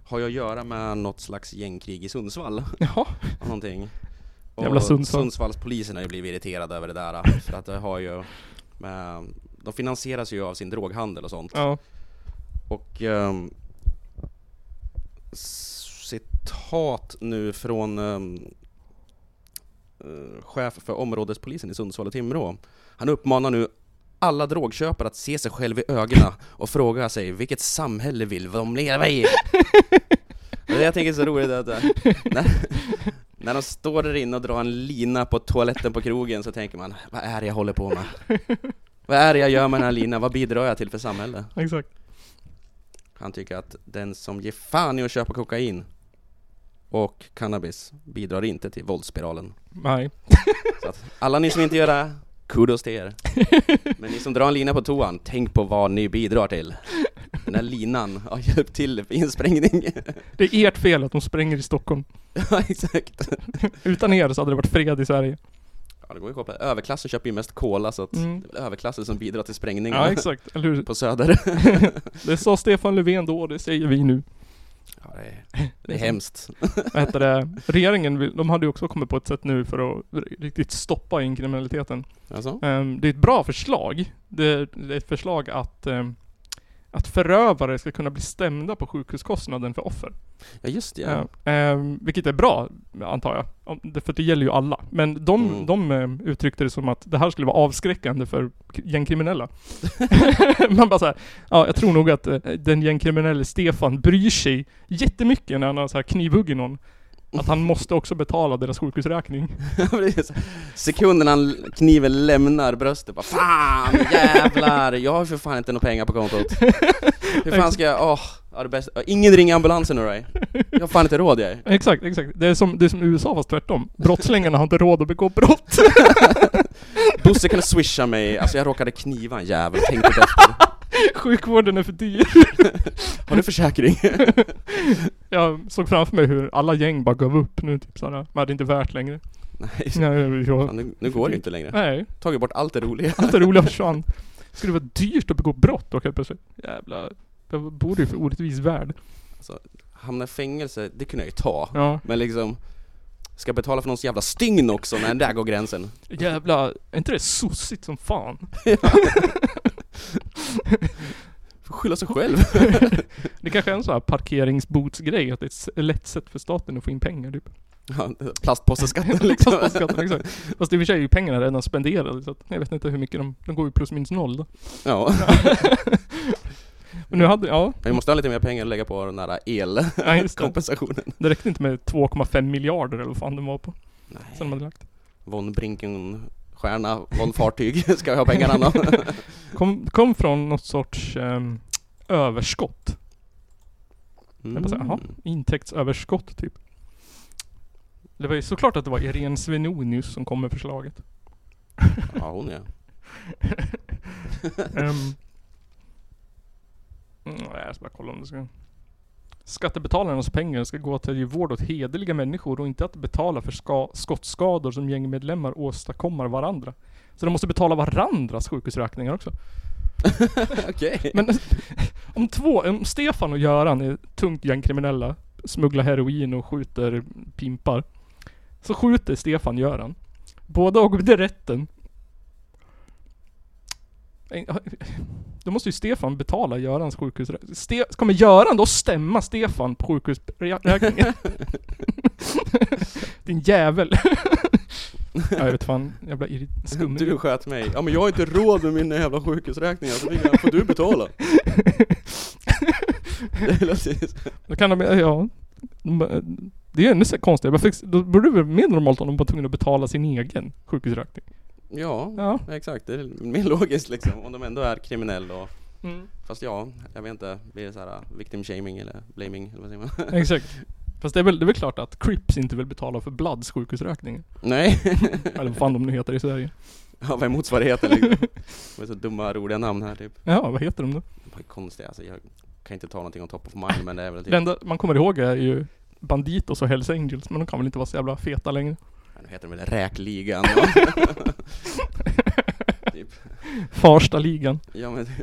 Speaker 2: har ju att göra med något slags gängkrig i Sundsvall. (laughs)
Speaker 1: Jaha.
Speaker 2: Och någonting.
Speaker 1: (laughs) Jävla Sundsvall.
Speaker 2: Sundsvallspolisen har ju blivit irriterade över det där. För att det har ju med, de finansieras ju av sin droghandel och sånt.
Speaker 1: Ja.
Speaker 2: Och ehm, citat nu från ehm, eh, chef för områdespolisen i Sundsvall och Timrå. Han uppmanar nu alla drogköpare att se sig själv i ögonen och fråga sig vilket samhälle vill de leva i? Det jag tänker är så roligt är att eh, när, när de står där inne och drar en lina på toaletten på krogen så tänker man Vad är det jag håller på med? Vad är det jag gör med den här linan? Vad bidrar jag till för samhälle?
Speaker 1: Exakt.
Speaker 2: Han tycker att den som ger fan i att köpa kokain och cannabis bidrar inte till våldsspiralen.
Speaker 1: Nej.
Speaker 2: Så att alla ni som inte gör det, kudos till er. Men ni som drar en lina på toan, tänk på vad ni bidrar till. Den här linan har hjälpt till i en sprängning. (laughs)
Speaker 1: Det är ert fel att de spränger i Stockholm.
Speaker 2: Ja, exakt.
Speaker 1: Utan er så hade det varit fred i Sverige.
Speaker 2: Ja, det går ju att koppla. Överklassen köper ju mest cola så att det är väl överklassen som bidrar till sprängningar.
Speaker 1: Mm. Ja, exakt. Eller hur?
Speaker 2: På Söder.
Speaker 1: det sa Stefan Löfven då, det säger vi nu.
Speaker 2: Ja, det, är, det är hemskt.
Speaker 1: Vad heter det? Regeringen, vill- de hade ju också kommit på ett sätt nu för att riktigt stoppa inkriminaliteten.
Speaker 2: Alltså?
Speaker 1: Ehm, Det är ett bra förslag. Det det är ett förslag att, ehm, att förövare ska kunna bli stämda på sjukhuskostnaden för offer.
Speaker 2: Ja, just det. Ja.
Speaker 1: Ja, ehm, vilket är bra, antar jag. Om- det- För det gäller ju alla. Men de,
Speaker 2: Mm.
Speaker 1: de ehm, uttryckte det som att det här skulle vara avskräckande för k-
Speaker 2: (laughs)
Speaker 1: gängkriminella. (laughs) Man bara såhär, ja jag tror nog att eh, den gängkriminelle Stefan bryr sig jättemycket när han har så här knivhuggit någon. Att han måste också betala deras sjukhusräkning. (laughs)
Speaker 2: (laughs) Precis. Sekunden han kniven lämnar bröstet bara Fan jävlar! Jag har för fan inte några pengar på kontot Hur fan ska jag, åh, ja, det bästa. ingen ringer ambulansen nu right? Jag har fan inte råd jag
Speaker 1: Exakt, exakt. Det är som, det är som USA fast tvärtom. Brottslingarna har inte råd att begå brott. (laughs)
Speaker 2: Bosse kan du swisha mig? Alltså jag råkade kniva en jävel, tänk inte efter
Speaker 1: Sjukvården är för dyr.
Speaker 2: Har du försäkring? (laughs)
Speaker 1: Jag såg framför mig hur alla gäng bara gav upp nu typ såhär. Men det är inte värt längre.
Speaker 2: Nej,
Speaker 1: Nej, jag,
Speaker 2: fan, nu, nu går det ju inte längre
Speaker 1: Nej.
Speaker 2: Tagit bort allt det roliga
Speaker 1: Allt det roliga försvann. Skulle det vara dyrt att begå brott då helt plötsligt? Jävla... Jag borde ju för orättvis värld.
Speaker 2: alltså, Hamna i fängelse, det kunde jag ju ta
Speaker 1: Ja.
Speaker 2: Men liksom Ska jag betala för någons jävla stygn också? när där går gränsen
Speaker 1: Jävla... Är inte det sossigt som fan?
Speaker 2: Får skylla sig själv
Speaker 1: det kanske är en sån här parkeringsbotsgrej, att det är ett s- lätt sätt för staten att få in pengar typ.
Speaker 2: ja, Plastpåseskatten
Speaker 1: (laughs)
Speaker 2: liksom
Speaker 1: Plastpåseskatten, exakt. Fast i och för sig är ju pengarna redan spenderade så att jag vet inte hur mycket de... De går ju plus minus noll då. (laughs)
Speaker 2: Ja
Speaker 1: Men nu hade... Ja.
Speaker 2: Vi måste ha lite mer pengar att lägga på den här
Speaker 1: Ja, just det.
Speaker 2: elkompensationen.
Speaker 1: Det räckte inte med 2,5 miljarder eller vad fan den var på. Sen de hade lagt.
Speaker 2: Von Brinken stjärna, von fartyg (laughs) ska vi ha pengarna då.
Speaker 1: Kom, kom från något sorts ehm, överskott. Jag bara såhär,
Speaker 2: Mm.
Speaker 1: jaha, intäktsöverskott typ. Det var ju såklart att det var Irene Svenonius som kom med (laughs) förslaget.
Speaker 2: Ja hon ja.
Speaker 1: Ehm, Mm, nej, jag ska bara kolla om det ska... Skattebetalarnas pengar ska gå till att ge vård åt hederliga människor och inte att betala för ska- skottskador som gängmedlemmar åstadkommer varandra. Så de måste betala varandras sjukhusräkningar också.
Speaker 2: Okej.
Speaker 1: Men om två, om Stefan och Göran är tungt gängkriminella, smugglar heroin och skjuter pimpar. Så skjuter Stefan Göran. Båda åker till rätten. Nej, Då måste ju Stefan betala Görans sjukhus... Ste kommer Göran då stämma Stefan på
Speaker 2: (laughs)
Speaker 1: sjukhusräkningen? Din jävel. ja, jag vet fan. Jävla irrit- skumlig.
Speaker 2: Du sköt mig. Ja men jag har inte råd med mina jävla sjukhusräkningar så det får du betala.
Speaker 1: (laughs)
Speaker 2: Det låter-
Speaker 1: Då kan de, ja. de- Det är ju ännu så konstigt. Varför, då borde det vara mer normalt om de var tvungna att betala sin egen sjukhusräkning.
Speaker 2: ja, exakt. Det är mer logiskt liksom. Om de ändå är kriminella och... Fast ja, jag vet inte. Blir det så här victim shaming eller blaming eller vad säger man?
Speaker 1: Exakt. Fast det är, väl, det är väl klart att Crips inte vill betala för Bloods sjukhusräkning?
Speaker 2: Nej.
Speaker 1: Eller vad fan de nu heter i Sverige.
Speaker 2: (laughs) Ja, vad är motsvarigheten liksom? Det är så dumma roliga namn här typ.
Speaker 1: Ja, vad heter de då?
Speaker 2: Vad är konstigt alltså. Jag kan inte ta någonting om top of mind men det är väl typ...
Speaker 1: Det enda man kommer ihåg är ju Banditos och Hells Angels, men de kan väl inte vara så jävla feta längre?
Speaker 2: Ja, Nu heter de väl Räkligan
Speaker 1: (laughs)
Speaker 2: typ.
Speaker 1: Farstaligan.
Speaker 2: Ja men typ.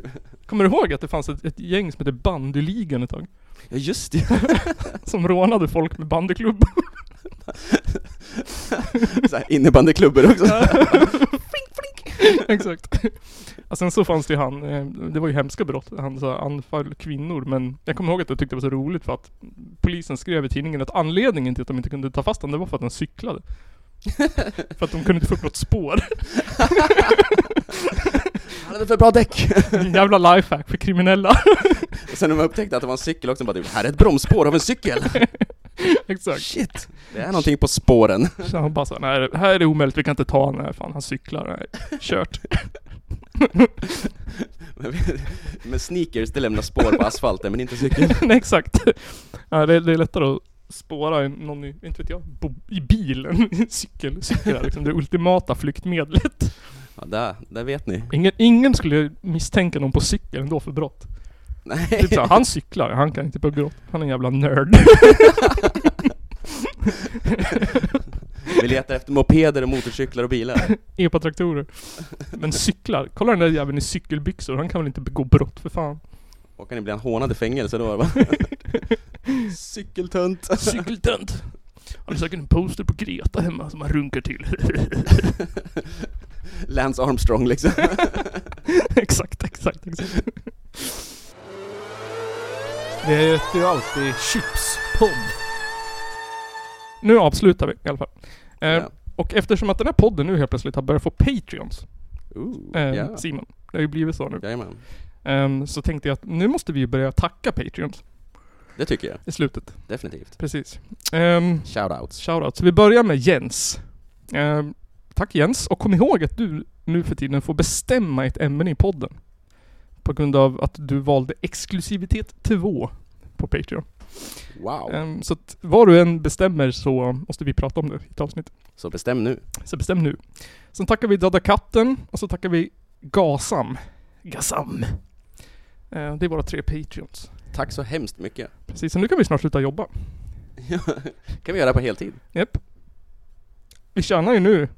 Speaker 1: Kommer du ihåg att det fanns ett, ett gäng som hette Bandyligan ett tag?
Speaker 2: Ja just det. (laughs)
Speaker 1: som rånade folk med bandyklubbor.
Speaker 2: Så här innebandyklubbor också.
Speaker 1: Ja. Exakt. Och sen så fanns det ju han, eh, det var ju hemska brott, han så här anfall kvinnor men jag kommer ihåg att jag tyckte det var så roligt för att polisen skrev i tidningen att anledningen till att de inte kunde ta fast honom det var för att han cyklade. för att de kunde inte få upp något spår.
Speaker 2: Han hade för bra däck.
Speaker 1: Jävla lifehack för kriminella. (laughs)
Speaker 2: Och sen när man upptäckte att det var en cykel också, bara typ, här är ett bromsspår av en cykel!
Speaker 1: Exakt.
Speaker 2: Shit! Det är någonting på spåren.
Speaker 1: Så han bara så här, nej det här är det omöjligt, vi kan inte ta honom, fan han cyklar, nej. Kört.
Speaker 2: Men vi- Men sneakers, det lämnar spår på asfalten, men inte cykel.
Speaker 1: (laughs) nej exakt. Ja, det, det är lättare att spåra en- någon i, inte vet jag, bo, i bilen, (laughs) cykel, cykel är liksom det ultimata flyktmedlet.
Speaker 2: Ja, där, där vet ni.
Speaker 1: Ingen, ingen skulle misstänka någon på cykel ändå för brott.
Speaker 2: Nej.
Speaker 1: Typ såhär, han cyklar, han kan inte begå brott. Han är en jävla nörd. (laughs)
Speaker 2: Vi letar efter mopeder och motorcyklar och bilar.
Speaker 1: Epatraktorer. Men cyklar, kolla den där jäveln i cykelbyxor, han kan väl inte begå brott för fan.
Speaker 2: Och kan ni bli en hånad i fängelse då? va? Cykeltönt.
Speaker 1: Cykeltönt. Han har säkert en poster på Greta hemma som han runkar till.
Speaker 2: (laughs)
Speaker 1: (laughs)
Speaker 2: Lance Armstrong liksom.
Speaker 1: (laughs) exakt, exakt, exakt. Det heter ju alltid Chipspodd. Nu avslutar vi i alla fall. Eh, Och eftersom att den här podden nu helt plötsligt har börjat få Patreons.
Speaker 2: Ooh,
Speaker 1: eh,
Speaker 2: ja.
Speaker 1: Simon, det har ju blivit så nu.
Speaker 2: Jajamän.
Speaker 1: Ehm, så tänkte jag att nu måste vi börja tacka Patreons
Speaker 2: Det tycker jag.
Speaker 1: i slutet.
Speaker 2: Definitivt.
Speaker 1: Precis. Um,
Speaker 2: Shoutouts.
Speaker 1: Shoutout. Så vi börjar med Jens. Ehm, tack Jens, och kom ihåg att du nu för tiden får bestämma ett ämne i podden. På grund av att du valde exklusivitet 2 på Patreon.
Speaker 2: Wow.
Speaker 1: Ehm, så att vad du än bestämmer så måste vi prata om det i ett avsnitt.
Speaker 2: Så bestäm nu.
Speaker 1: Så bestäm nu. Sen tackar vi Döda katten och så tackar vi Gasam. Gasam. Ehm, det är våra tre Patreons.
Speaker 2: Tack så hemskt mycket.
Speaker 1: Precis, så nu kan vi snart sluta jobba.
Speaker 2: kan vi göra på heltid.
Speaker 1: Japp. Vi tjänar ju nu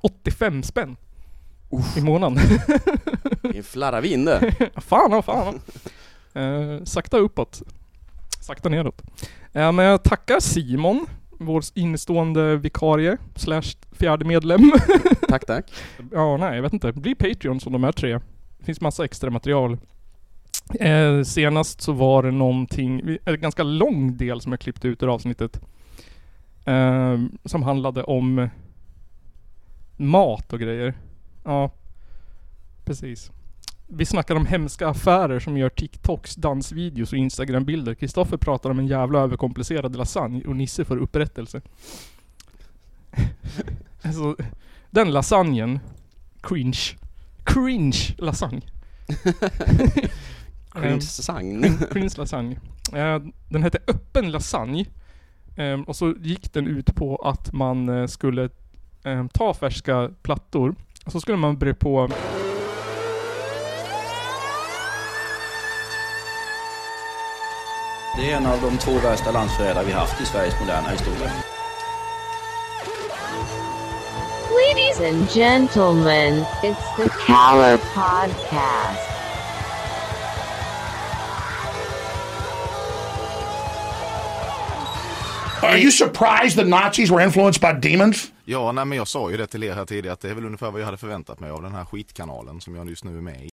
Speaker 1: 85 spänn i månaden. (laughs)
Speaker 2: I flarrar vi in det.
Speaker 1: fan, ja, fan. ja. Eh, sakta uppåt. Sakta neråt. Eh, men jag tackar Simon, vår instående vikarie, slash fjärde medlem.
Speaker 2: Tack, tack.
Speaker 1: ja, nej, jag vet inte. Bli Patreon som de här tre. Det finns massa extra material. Eh, senast så var det någonting, vi- en ganska lång del som jag klippte ut ur avsnittet. Eh, som handlade om mat och grejer. Ja, precis. Vi snackar om hemska affärer som gör TikToks, dansvideos och Instagram-bilder. Kristoffer pratar om en jävla överkomplicerad lasagne och Nisse får upprättelse. (laughs) alltså, den lasagnen, cringe. Cringe lasagne.
Speaker 2: Cringe-sang.
Speaker 1: Cringe lasagne. Eh, Den hette öppen lasagne. Ehm, Och så gick den ut på att man eh, skulle ehm, ta färska plattor och så skulle man bre på
Speaker 3: Det är en av de två värsta landsförrädare vi haft i Sveriges moderna historia.
Speaker 4: Ladies and gentlemen, it's the Power Podcast.
Speaker 11: Are you surprised the Nazis were influenced by demons?
Speaker 13: Ja, nej, men jag sa ju det till er här tidigare att det är väl ungefär vad jag hade förväntat mig av den här skitkanalen som jag just nu är med i.